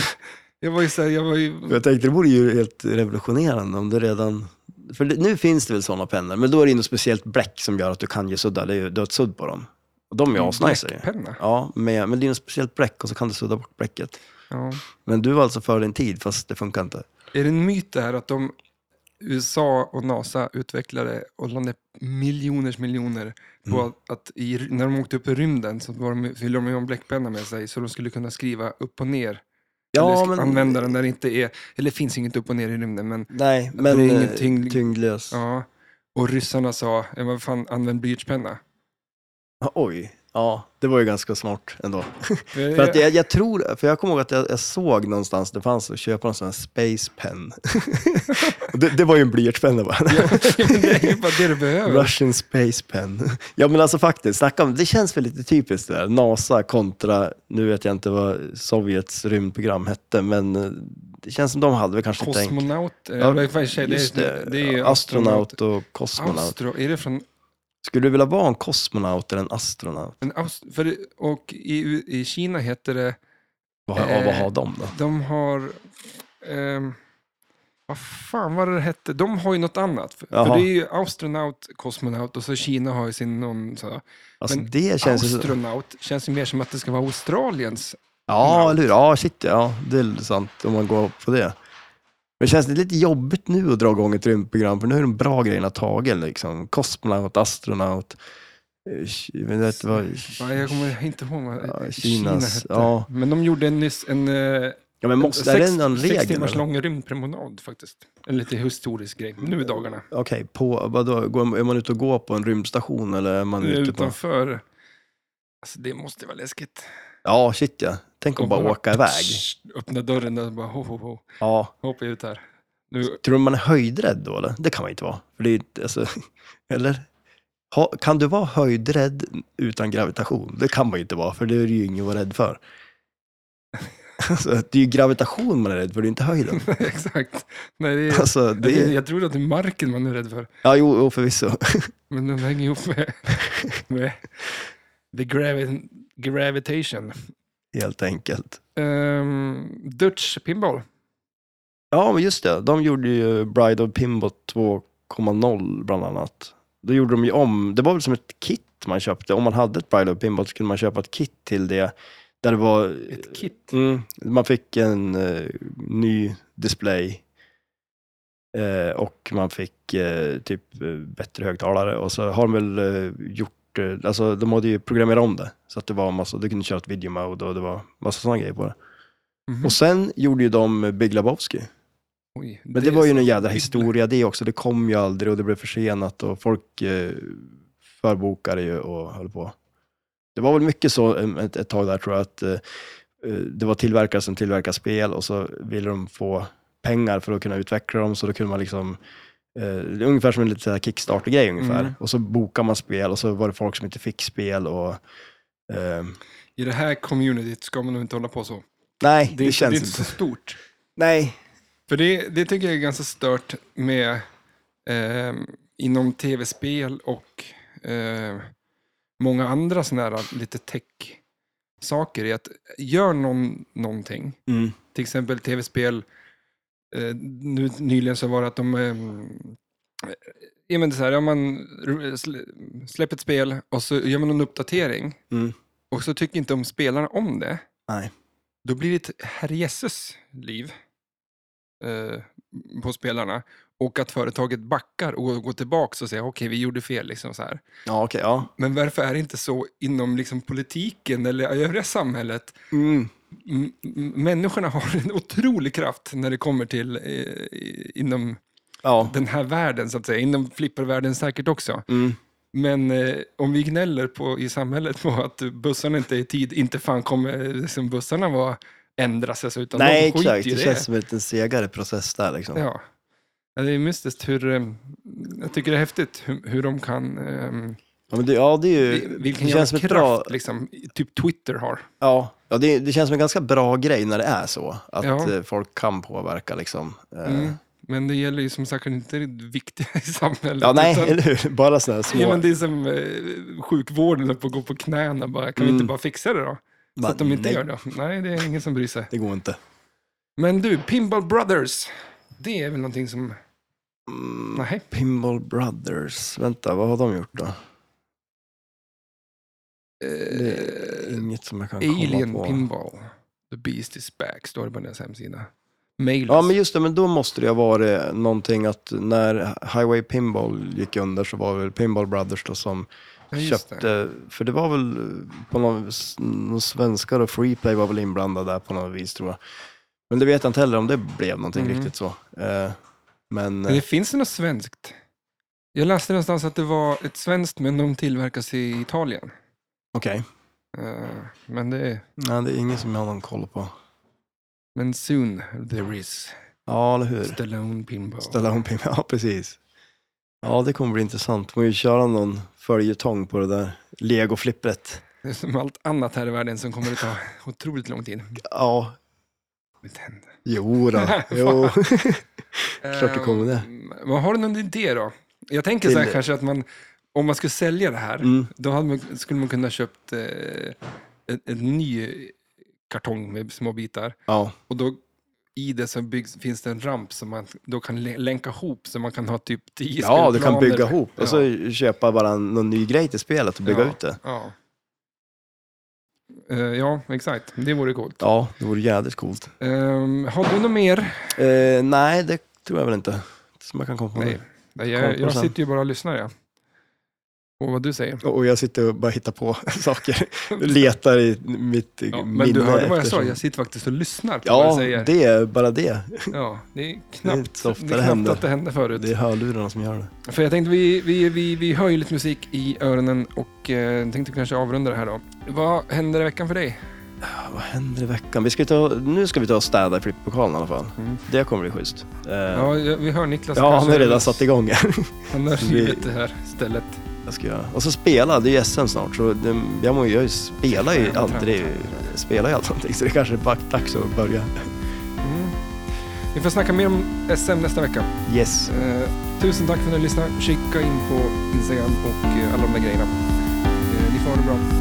Speaker 1: jag var ju så här, jag var ju,
Speaker 2: jag tänkte det vore ju helt revolutionerande om det redan... För det, nu finns det väl sådana pennor, men då är det ju något speciellt bläck som gör att du kan ge sudda. Det är ju, du har ett sudd på dem. Och de är ju asnice. ju.
Speaker 1: bläckpenna.
Speaker 2: Ja, men, men det är något speciellt bläck och så kan du sudda bort bläcket.
Speaker 1: Ja.
Speaker 2: Men du var alltså före din tid, fast det funkar inte.
Speaker 1: Är det en myt det här att de USA och NASA utvecklade och la ner miljoners miljoner på
Speaker 2: Mm.
Speaker 1: att i, när de åkte upp i rymden så var de, fyllde de ju en bläckpenna med sig så de skulle kunna skriva upp och ner. eller sk- använda den där det inte är, eller det finns inget upp och ner i rymden men
Speaker 2: Nej,
Speaker 1: är
Speaker 2: men
Speaker 1: ingen
Speaker 2: eh,
Speaker 1: tyngd-
Speaker 2: tyngdlös. Ja.
Speaker 1: ja. Och ryssarna sa, ja, vad fan använd blyertspenna. Ah,
Speaker 2: Oj, ja, det var ju ganska smart ändå.
Speaker 1: För
Speaker 2: För att jag, jag tror, för jag kommer ihåg att jag, jag såg någonstans, det fanns att köpa någon sån här space pen. Och det, det var ju en blyertspenna bara.
Speaker 1: det är ju bara det du behöver.
Speaker 2: Russian space pen. Ja men alltså faktiskt, snacka om, det känns väl lite typiskt det där. NASA kontra, nu vet jag inte vad Sovjets rymdprogram hette, men eh, det känns som de hade väl kanske tänkt.
Speaker 1: Kosmonaut, eh,
Speaker 2: Ja,
Speaker 1: vad fan, tjej, det,
Speaker 2: Just
Speaker 1: är-
Speaker 2: det,
Speaker 1: det är ju
Speaker 2: astronaut och kosmonaut.
Speaker 1: Astro, är det från
Speaker 2: Skulle du vilja vara en kosmonaut eller en astronaut?
Speaker 1: En aus- för, det- och i, i Kina heter det,
Speaker 2: Vad, ja, vad
Speaker 1: Eh,
Speaker 2: har de då?
Speaker 1: de har, ehm, vad fan var det det hette, de har ju något annat. För, för
Speaker 2: Jaha.
Speaker 1: det är ju astronaut, kosmonaut och så Kina har ju sin någon så här.
Speaker 2: Alltså
Speaker 1: men
Speaker 2: det känns ju så...
Speaker 1: Astronaut känns ju mer som att det ska vara Australiens.
Speaker 2: Ja, eller hur? Ja, shit ja. Det är sant om man går på det. Men känns det lite jobbigt nu att dra igång ett rymdprogram? För nu är de bra grejerna tagen. Liksom. Kosmonaut, astronaut. eh, ki- Jag vet inte vad...
Speaker 1: Va, Jag kommer inte ihåg vad
Speaker 2: Ja,
Speaker 1: Kina
Speaker 2: Kinas-
Speaker 1: hette.
Speaker 2: ja.
Speaker 1: Men de gjorde en nyss en, eh,
Speaker 2: Ja, men måste, är det någon
Speaker 1: sex
Speaker 2: regel?
Speaker 1: timmars
Speaker 2: eller? Okej,
Speaker 1: lång rymdpromenad faktiskt. En lite historisk grej, nu i dagarna.
Speaker 2: på, vadå, går- är man ute och går på en rymdstation eller är man ute på...
Speaker 1: Utanför, alltså det måste vara läskigt.
Speaker 2: Ja, shit ja. Tänk om bara åka iväg.
Speaker 1: Öppna dörren och bara ho, ho, ho.
Speaker 2: Ja.
Speaker 1: Hoppa ut här. Nu,
Speaker 2: Tror du man är höjdrädd då eller? Det kan man inte vara. För det är, ju inte- alltså, eller? ha, kan du vara höjdrädd utan gravitation? Det kan man ju inte vara, för det är det ju ingen att vara rädd för. Alltså, det är ju gravitation man är rädd för, det är inte höjden.
Speaker 1: Exakt. Nej, det är,
Speaker 2: Alltså, det är,
Speaker 1: Jag tror att det är marken man är rädd för,
Speaker 2: ja, jo, jo, förvisso.
Speaker 1: men den hänger ihop med, med the gravi- gravitation.
Speaker 2: Helt enkelt.
Speaker 1: Um, Dutch pinball.
Speaker 2: Ja, men just det. De gjorde ju Bride of Pinbot 2.0 bland annat. Då gjorde de ju om, det var väl som ett kit man köpte. Om man hade ett Bride of Pinbot så kunde man köpa ett kit till det. Där det var
Speaker 1: Ett kit.
Speaker 2: Mm, man fick en eh, ny display eh, och man fick eh, typ eh, bättre högtalare och så har de väl eh, gjort, eh, alltså de hade ju programmerat om det så att det var en massa, du kunde köra ett video mode och det var massa sådana grejer på det.
Speaker 1: Mhm.
Speaker 2: Och sen gjorde ju de Big Lebowski.
Speaker 1: Mm-hmm. Oj,
Speaker 2: Men det, var ju en jävla
Speaker 1: Big-
Speaker 2: historia det också, det kom ju aldrig och det blev försenat och folk eh, förbokade ju och höll på. Det var väl mycket så em, ett, ett tag där tror jag, att eh, eh, det var tillverkare som tillverkade spel och så ville de få pengar för att kunna utveckla dem, så då kunde man liksom eh, det är ungefär som en liten så här Kickstarter-grej ungefär.
Speaker 1: Mm.
Speaker 2: Och så bokade man spel och så var det folk som inte fick spel och... ehm,
Speaker 1: I det här communityt ska man nog inte hålla på så.
Speaker 2: nej,
Speaker 1: Det
Speaker 2: det,
Speaker 1: är, inte-
Speaker 2: känns
Speaker 1: det är
Speaker 2: inte.
Speaker 1: inte så stort.
Speaker 2: Nej.
Speaker 1: För det, det tycker jag är ganska stört med ehm, inom tv-spel och ehm, många andra sådana här lite tech-saker. är att gör någon någonting,
Speaker 2: Mm.
Speaker 1: till exempel tv-spel, eh, nu, nyligen så var det att de ehm, eh, ja, men det är så här, ja, man r- sl- släpper ett spel och så gör man en uppdatering
Speaker 2: Mm.
Speaker 1: och så tycker inte de spelarna om det.
Speaker 2: Nej.
Speaker 1: Då blir det ett herrejösses liv eh, på spelarna. Och att företaget backar och går- går tillbaka och säger okej, vi gjorde fel. Liksom så här.
Speaker 2: Ja, okej. ja.
Speaker 1: Men varför är det inte så inom liksom, politiken eller i övriga samhället?
Speaker 2: Mm.
Speaker 1: M- m- människorna har en otrolig kraft när det kommer till eh, i- inom
Speaker 2: Ja.
Speaker 1: den här världen, så att säga. Inom flippervärlden säkert också.
Speaker 2: Mm.
Speaker 1: Men eh, om vi gnäller på, i samhället på att bussarna inte är i tid, inte fan kommer eh, liksom, bussarna vara, ändras. Alltså, utan
Speaker 2: Nej,
Speaker 1: de skiter
Speaker 2: exakt.
Speaker 1: i
Speaker 2: Det känns som en segare process där. Liksom.
Speaker 1: Ja. Ja, Det är mystiskt hur... eh, Jag tycker det är häftigt hur, hur de kan... ehm,
Speaker 2: Ja, men det, ja, det är
Speaker 1: vi-
Speaker 2: ju...
Speaker 1: vilken
Speaker 2: det
Speaker 1: jävla
Speaker 2: känns som
Speaker 1: kraft
Speaker 2: ett bra,
Speaker 1: liksom, typ Twitter har.
Speaker 2: ja, ja, det, det känns som en ganska bra grej när det är så. Att
Speaker 1: Ja.
Speaker 2: eh, folk kan påverka liksom. Eh,
Speaker 1: Mm. Men det gäller ju som sagt inte det viktiga i samhället.
Speaker 2: Ja, nej,
Speaker 1: utan-
Speaker 2: eller hur? Bara sådana här små...
Speaker 1: Ja, men det är som eh, sjukvården höll på att gå på knäna bara. Kan vi inte
Speaker 2: Mm.
Speaker 1: bara fixa det då? Så
Speaker 2: Bara,
Speaker 1: att de inte
Speaker 2: nej,
Speaker 1: gör det. Nej, det är ingen som bryr sig.
Speaker 2: Det går inte.
Speaker 1: Men du, Pinball Brothers. Det är väl någonting som...
Speaker 2: Mm.
Speaker 1: Nej.
Speaker 2: Pinball Brothers. Vänta, vad har de gjort då? Det är
Speaker 1: Eh,
Speaker 2: inget som jag kan
Speaker 1: Alien
Speaker 2: komma på.
Speaker 1: Pinball. The Beast is back, står det på deras hemsida. Mail
Speaker 2: Ja,
Speaker 1: us.
Speaker 2: men just det, men då måste det ha varit någonting att när Highway Pinball gick under så var det väl Pinball Brothers då som
Speaker 1: Ja, just
Speaker 2: köpte, för det var väl på någon, någon svenskar och Freeplay var väl inblandade där på något vis tror jag. Men det vet jag inte heller om det blev någonting
Speaker 1: Mm.
Speaker 2: riktigt så. Eh, men eh,
Speaker 1: Men det finns ju något svenskt. Jag läste någonstans att det var ett svenskt, men de tillverkas i Italien.
Speaker 2: okej,
Speaker 1: Eh, men det är...
Speaker 2: Nej, det är ingen som jag har någon koll på.
Speaker 1: Men soon there is
Speaker 2: Ja, eller hur?
Speaker 1: Stallone Pinball.
Speaker 2: Ställa om pin- ja precis. Ja, det kommer bli intressant. Man ju köra någon följetong på det där legoflippret.
Speaker 1: Det är som allt annat här i världen som kommer att ta otroligt lång tid.
Speaker 2: Ja,
Speaker 1: Mitt händer.
Speaker 2: jo då. jo. Klart det kommer det.
Speaker 1: Ehm, Vad har du någon idé då? Jag tänker så här
Speaker 2: Till-
Speaker 1: kanske att man, om man skulle sälja det här,
Speaker 2: Mm.
Speaker 1: då hade man, skulle man kunna köpt eh, en, en ny kartong med små bitar.
Speaker 2: Ja,
Speaker 1: Och då i det så byggs, finns det en ramp som man då kan lä- länka ihop så man kan ha typ 10
Speaker 2: ja du kan
Speaker 1: spelplaner.
Speaker 2: bygga ihop
Speaker 1: Ja.
Speaker 2: och så köpa bara en- någon ny grej till spelet och bygga
Speaker 1: Ja.
Speaker 2: ut det.
Speaker 1: Ja. Eh, ja, exakt. Det vore coolt.
Speaker 2: Ja, det vore jävligt coolt.
Speaker 1: Ehm, har du något mer?
Speaker 2: Eh, nej, det tror jag väl inte. Inte Som jag kan komma på
Speaker 1: Nej. Nej, jag, jag sitter ju bara och lyssnar. Ja. Och vad du säger.
Speaker 2: nu. Och jag sitter och bara hittar på saker. Letar i mitt
Speaker 1: Ja,
Speaker 2: minne.
Speaker 1: men du hörde vad jag sa,
Speaker 2: eftersom-
Speaker 1: jag sitter faktiskt och lyssnar på vad du
Speaker 2: Ja,
Speaker 1: säger.
Speaker 2: det är bara det.
Speaker 1: Ja, det är
Speaker 2: Det är
Speaker 1: knappt,
Speaker 2: inte så ofta
Speaker 1: det är
Speaker 2: det
Speaker 1: knappt
Speaker 2: händer.
Speaker 1: att det hände förut.
Speaker 2: Det är hörlurarna som gör det.
Speaker 1: För jag tänkte, vi, vi, vi, vi hör ju lite musik i öronen och eh, tänkte kanske avrunda det här då. Vad händer i veckan för dig?
Speaker 2: Ja, Ah, vad händer i veckan? Vi ska ju ta, nu ska vi ta och städa i flipppokalen i alla fall.
Speaker 1: Mm.
Speaker 2: Det kommer bli schysst. Eh,
Speaker 1: Ja, jag- vi hör Niklas.
Speaker 2: ja, han
Speaker 1: kanske-
Speaker 2: har redan satt igång.
Speaker 1: Han har
Speaker 2: Vi-
Speaker 1: rivit det här stället.
Speaker 2: Jag ska göra. Och så spela, det är ju SM snart så det, jag, må, ju- jag spelar ju alltid, spelar ju alltid någonting så det kanske är bara dags att börja.
Speaker 1: Mm. Vi får snacka mer om SM nästa vecka.
Speaker 2: Yes.
Speaker 1: Eh, tusen tack för att ni lyssnade. Kika in på Instagram och eh, alla de där grejerna. Eh, ni får ha det bra.